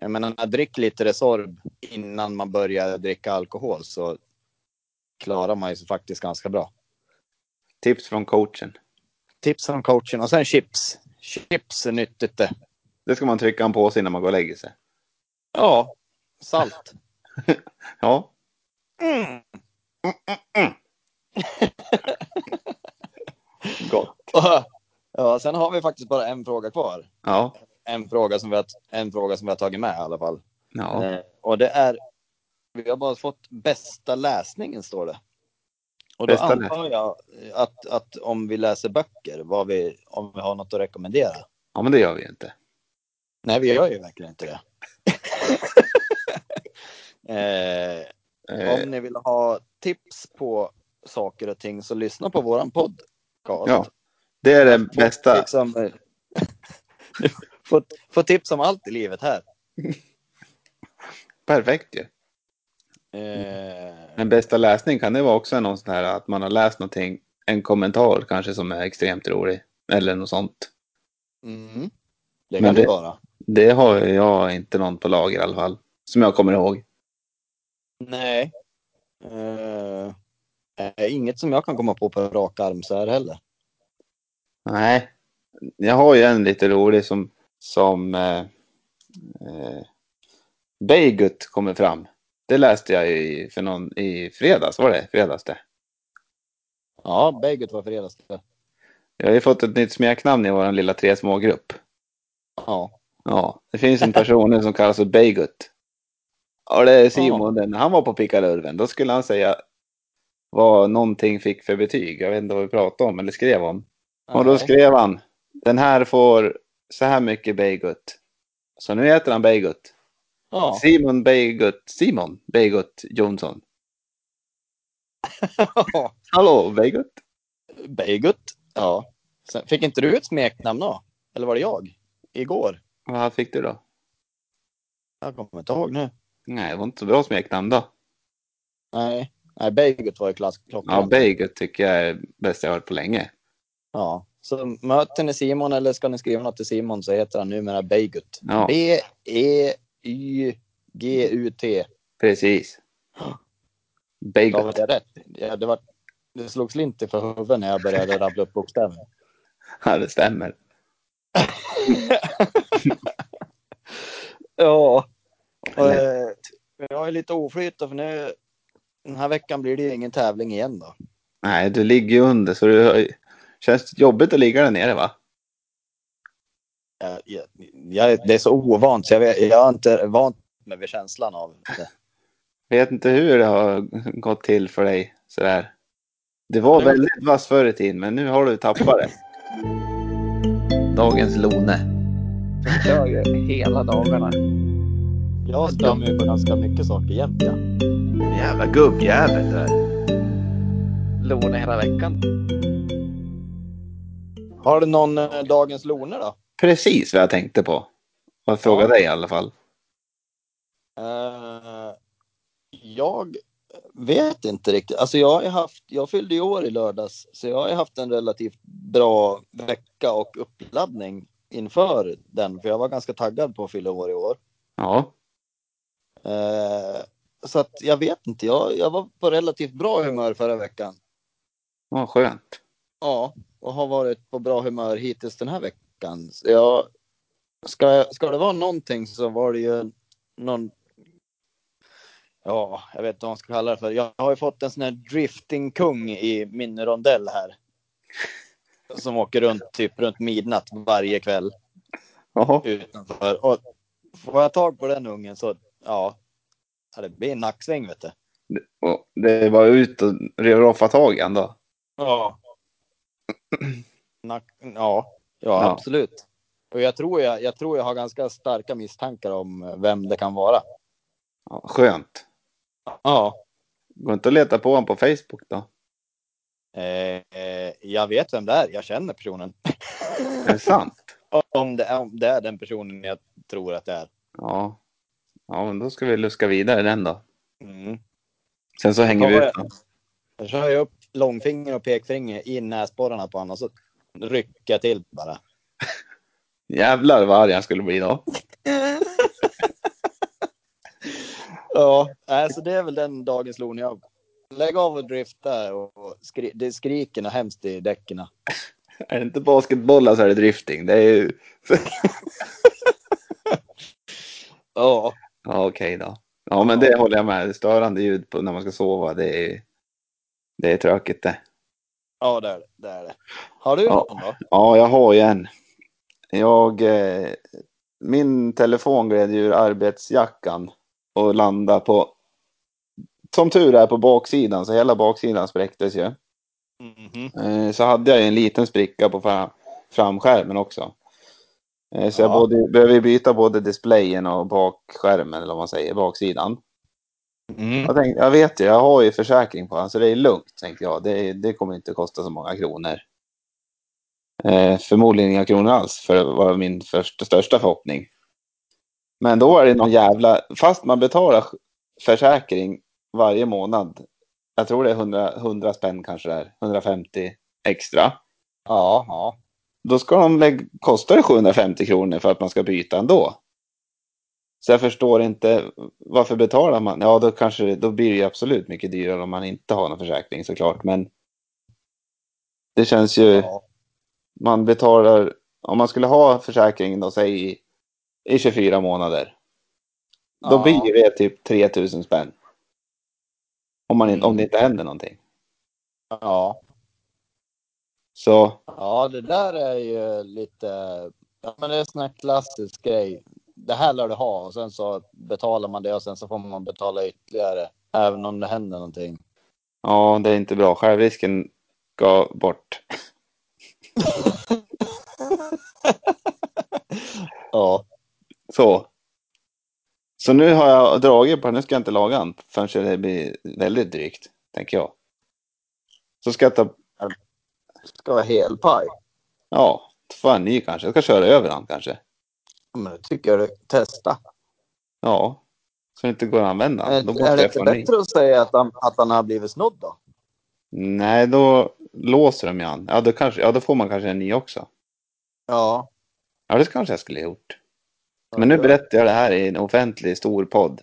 B: Jag menar, drick lite Resorb innan man börjar dricka alkohol så klarar man ju sig faktiskt ganska bra.
C: tips från coachen.
B: Tips från coachen och sen chips. Chips är nyttigt det.
C: Det ska man trycka en påse innan man går och lägger sig.
B: Ja, salt.
C: Ja, gott.
B: Ja, sen har vi faktiskt bara en fråga kvar.
C: Ja,
B: En fråga som vi har, en fråga som vi har tagit med i alla fall.
C: ja.
B: Eh, Och det är, vi har bara fått bästa läsningen står det. Och då
C: Bästa
B: antar jag att, att om vi läser böcker, vad vi, om vi har något att rekommendera.
C: ja, men det gör vi ju inte.
B: Nej, vi gör ju verkligen inte det. eh,
C: Eh,
B: om ni vill ha tips på saker och ting så lyssna på våran podcast.
C: Ja, det är det bästa.
B: Liksom, eh, du får, får tips om allt i livet här.
C: Perfekt ju.
B: Eh,
C: Men bästa läsning kan det vara också någon sån här att man har läst någonting, en kommentar kanske som är extremt rolig. Eller något sånt.
B: mm, det
C: Men
B: kan det
C: det-
B: vara.
C: Det har jag inte någon på lager i alla fall. Som jag kommer ihåg.
B: Nej. Eh, eh, inget som jag kan komma på på rak arm så här heller.
C: Nej. Jag har ju en lite rolig som, som eh, eh, Beigut kommer fram. Det läste jag i, för någon, i fredags, var det? Fredags det.
B: Ja, Beigut var fredagskväll.
C: Jag har ju fått ett nytt smeknamn i vår lilla tre smågrupp.
B: Ja.
C: Ja, det finns en person nu som kallas för Beigut. Och det är Simon, den, han var på pickalurven. Då skulle han säga vad någonting fick för betyg. Jag vet inte vad vi pratade om eller skrev om. Och då
B: Nej.
C: skrev han, den här får så här mycket Beigut. Så nu heter han Beigut.
B: ja.
C: Simon Beigut, Simon Beigut Jonsson. Hallå Beigut?
B: Beigut. Ja. Sen, fick inte du ett smeknamn då? Eller var det jag? Igår?
C: Vad fick du då?
B: Jag kommer inte ihåg nu.
C: Nej, det var inte så bra smeknamn då.
B: Nej, Nej Beigut var ju
C: Ja,
B: klassklockan.
C: Beigut tycker jag är bäst jag har hört på länge.
B: ja. Så möter ni Simon eller ska ni skriva något till Simon så heter han numera Beigut. E
C: Ja.
B: B-E-Y-G-U-T.
C: Precis.
B: Gav
C: Beigut.
B: jag rätt? Ja, det, var, det slog slint i för huvudet när jag började rabbla upp bokstäver.
C: Ja, det stämmer.
B: ja. Och, eh, jag är lite oflyt då, för nu den här veckan blir det ju ingen tävling igen då.
C: Nej, du ligger ju under så det känns jobbigt att ligga där nere va?
B: Jag, jag, jag, det är så ovant så jag, vet- jag är inte vant med vid känslan av det.
C: Vet inte hur det har gått till för dig sådär. Det var
B: Nej.
C: väldigt vass förr i tiden, men nu har du tappat det. Dagens Lone.
A: Jag kör ju hela dagarna.
B: Jag stör mig på ganska mycket saker jämt. Ja.
C: Jävla gubbjävel där.
A: Låna hela veckan.
B: Har du någon eh, Dagens Loner då?
C: Precis vad jag tänkte på. Och fråga dig i alla fall.
B: Eh, jag vet inte riktigt. Alltså jag, har ju haft, jag fyllde ju år i lördags, så jag har ju haft en relativt bra vecka och uppladdning inför den, för jag var ganska taggad på att fylla år i år.
C: Ja,
B: Eh, så att jag vet inte, jag, jag var på relativt bra humör förra veckan.
C: vad skönt.
B: Ja, och har varit på bra humör hittills den här veckan. Så jag, ska, ska det vara någonting så var det ju en någon... Ja, jag vet inte vad man ska kalla det för. Jag har ju fått en sån här driftingkung i min rondell här. Som åker runt typ runt midnatt varje kväll
C: Jaha.
B: utanför. Och får jag tag på den ungen så, ja. ja, Det blir en nacksving vet du.
C: Och det är bara ut och roffa tag i han då.
B: Ja. Nack, ja, ja,
C: Ja.
B: absolut. Och jag tror jag, jag tror jag har ganska starka misstankar om eh, vem det kan vara.
C: Ja, skönt.
B: Ja.
C: Går inte att leta på honom på Facebook då?
B: Eh, eh, jag vet vem det är. Jag känner personen.
C: Är det sant?
B: Om det, är, om det är den personen jag tror att det är.
C: Ja. Ja, men då ska vi luska vidare den då.
B: Mm.
C: Sen så hänger vi
B: Ja,
C: ut den.
B: Jag kör jag upp långfinger och pekfinger i näsborrarna på honom och så rycker jag till bara.
C: Jävlar vad arg han skulle bli då.
B: Ja, alltså det är väl den dagens lon jag... Lägg av och drifta och skri... det skriker något hemskt i däcken.
C: Är det inte basketbollar så är det drifting. Det är ju...
B: Ja,
C: Ja, okej då. Ja, men det håller jag med. Störande ljud på när man ska sova, det är, det är tråkigt det.
B: ja det är det. det, är det. Har du
C: Ja.
B: någon då?
C: Ja, jag har ju en. Jag, eh, min telefon gled ur arbetsjackan och landade på, som tur är, på baksidan. Så hela baksidan spräcktes ju.
B: Mhm.
C: Eh, så hade jag ju en liten spricka på fram, framskärmen också. Eh, så jag
B: Ja.
C: både, behöver ju byta både displayen och bakskärmen, eller vad man säger, baksidan.
B: Mm.
C: Jag, tänkte, jag vet ju, jag har ju försäkring på den, så det är lugnt, tänkte jag. Det, det kommer inte kosta så många kronor. Eh, förmodligen inga kronor alls, för det var min första, största förhoppning. Men då är det någon jävla... Fast man betalar sj- försäkring varje månad, jag tror det är 100, 100 spänn kanske där, 150 extra.
B: Ja, ja.
C: Då ska de lägga, kostar det 750 kronor för att man ska byta ändå. Så jag förstår inte varför betalar man? Ja, då kanske det, då blir det ju absolut mycket dyrare om man inte har någon försäkring såklart, men. Det känns ju,
B: ja.
C: man betalar, om man skulle ha försäkringen då, säg i, i 24 månader. Då
B: Ja.
C: blir det typ 3000 spänn. Om, man, in- om
B: Mm.
C: det inte händer någonting.
B: Ja.
C: Så
B: ja, det där är ju lite... Ja, men det är en sån här klassisk grej. Det här lär du ha och sen så betalar man det och sen så får man betala ytterligare. Även om det händer någonting.
C: ja, det är inte bra. Självrisken ska bort.
B: Ja.
C: Så. Så nu har jag dragit på den. Nu ska jag inte laga den förrän det blir väldigt drygt, tänker jag. Så ska jag ta,
B: Ska vara helpaj.
C: ja, få en ny kanske. Jag ska köra över den kanske.
B: Ja, Men det tycker jag du testa.
C: Ja, så det inte går att använda.
B: Är,
C: Då måste
B: är det
C: jag få
B: inte
C: en ny.
B: bättre att säga att han, att han har blivit snodd då?
C: Nej, då låser de ju an. Ja, då, kanske, ja, då får man kanske en ny också.
B: Ja.
C: Ja, det kanske jag skulle ha gjort. Men nu berättar jag det här i en offentlig stor podd.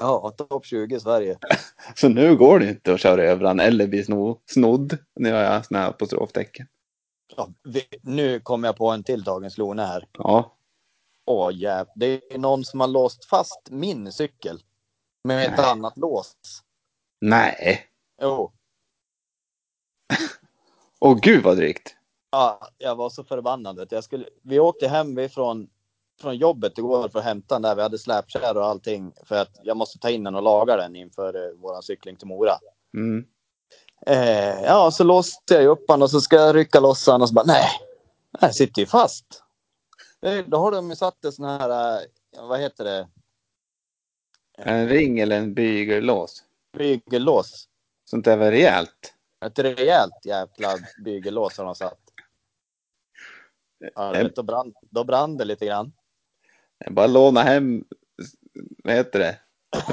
B: Ja, topp 20 i Sverige.
C: Så nu går det inte att köra över den eller bli sno, snodd. Nu har jag såna här apostroftecken.
B: Ja, vi, nu kom jag på en till Dagens Lone här.
C: Ja,
B: Åh jäv, det är någon som har låst fast min cykel. Med ett
C: Nej.
B: annat lås.
C: nej.
B: Jo.
C: Åh gud vad drygt.
B: Ja, jag var så förbannad. vet du. Jag skulle, vi åkte hem vi från, från jobbet igår för att hämta den där. Vi hade släpkärra och allting. För att jag måste ta in den och laga den inför eh, våran cykling till Mora.
C: Mm.
B: Eh, ja, så låste jag ju upp han och så ska jag rycka loss han och så bara nej, den sitter ju fast. Eh, Då har de ju satt en sån här, eh, vad heter det,
C: En ring eller en bygellås.
B: bygellås.
C: Sånt där var rejält.
B: Ett rejält jävla bygellås har de satt. Ja, du vet, då, brann, då brann det lite grann.
C: Jag Bara låna hem, vad heter det,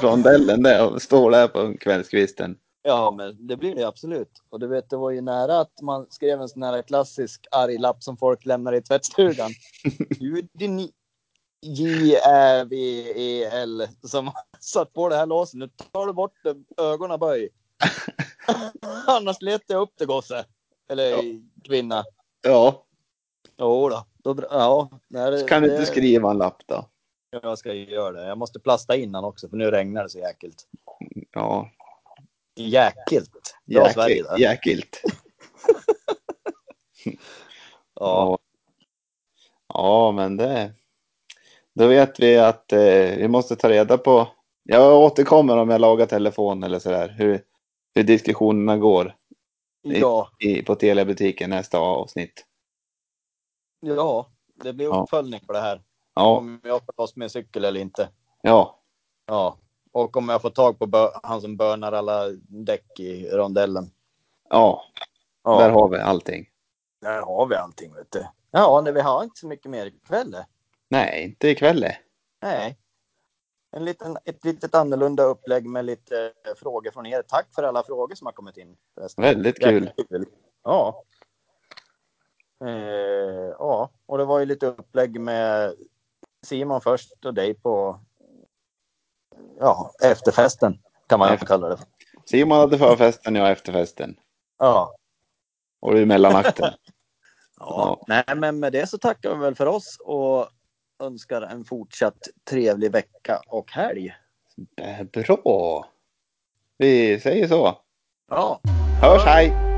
C: rondellen där och stå där på kvällskvisten.
B: Ja, men det blir det absolut. Och du vet, det var ju nära att man skrev en sån här klassisk arg lapp som folk lämnar i tvättstugan. Du, din J, Ä, V, E, L som har satt på det här låset. Nu tar du bort det, ögonen böj. Annars letar jag upp det gosse. Eller
C: Ja.
B: kvinna.
C: Ja,
B: Jo då. då bra- ja, nej, det-
C: så kan du
B: det-
C: inte skriva en lapp då?
B: jag ska ju göra det. Jag måste plasta innan också för nu regnar det så jäkligt.
C: Ja,
B: Jäkligt! Bra Sverige
C: jäkligt.
B: där.
C: jäkligt.
B: Ja.
C: Ja, men det... Då vet vi att eh, vi måste ta reda på... Jag återkommer om jag lagar telefon eller sådär. Hur, hur diskussionerna går
B: ja.
C: i, på Telia-butiken nästa avsnitt.
B: Ja. Det blir
C: Ja.
B: uppföljning på det här.
C: Ja,
B: Om jag får loss min cykel eller inte.
C: ja,
B: Ja. Och om jag får tag på bö- han som börnar alla däck i rondellen.
C: ja.
B: Ja.
C: Där har vi allting.
B: Där har vi allting vet du. Ja, nej, vi har inte så mycket mer ikväll. eh.
C: Nej, inte ikväll.
B: Nej. En liten, ett litet annorlunda upplägg med lite eh, frågor från er. Tack för alla frågor som har kommit in. förresten.
C: Väldigt kul.
B: Jäkligt kul. Ja. Eh, ja, och det var ju lite upplägg med Simon först och dig på ja, efterfesten kan man ju
C: Efter-
B: kalla det. för.
C: Simon hade förfesten, jag efterfesten.
B: Ja.
C: Och du mellanakten.
B: ja. Nej, men med det så tackar vi väl för oss och önskar en fortsatt trevlig vecka och helg.
C: Eh, Bra! Vi säger så.
B: Ja.
C: Hörs, hej!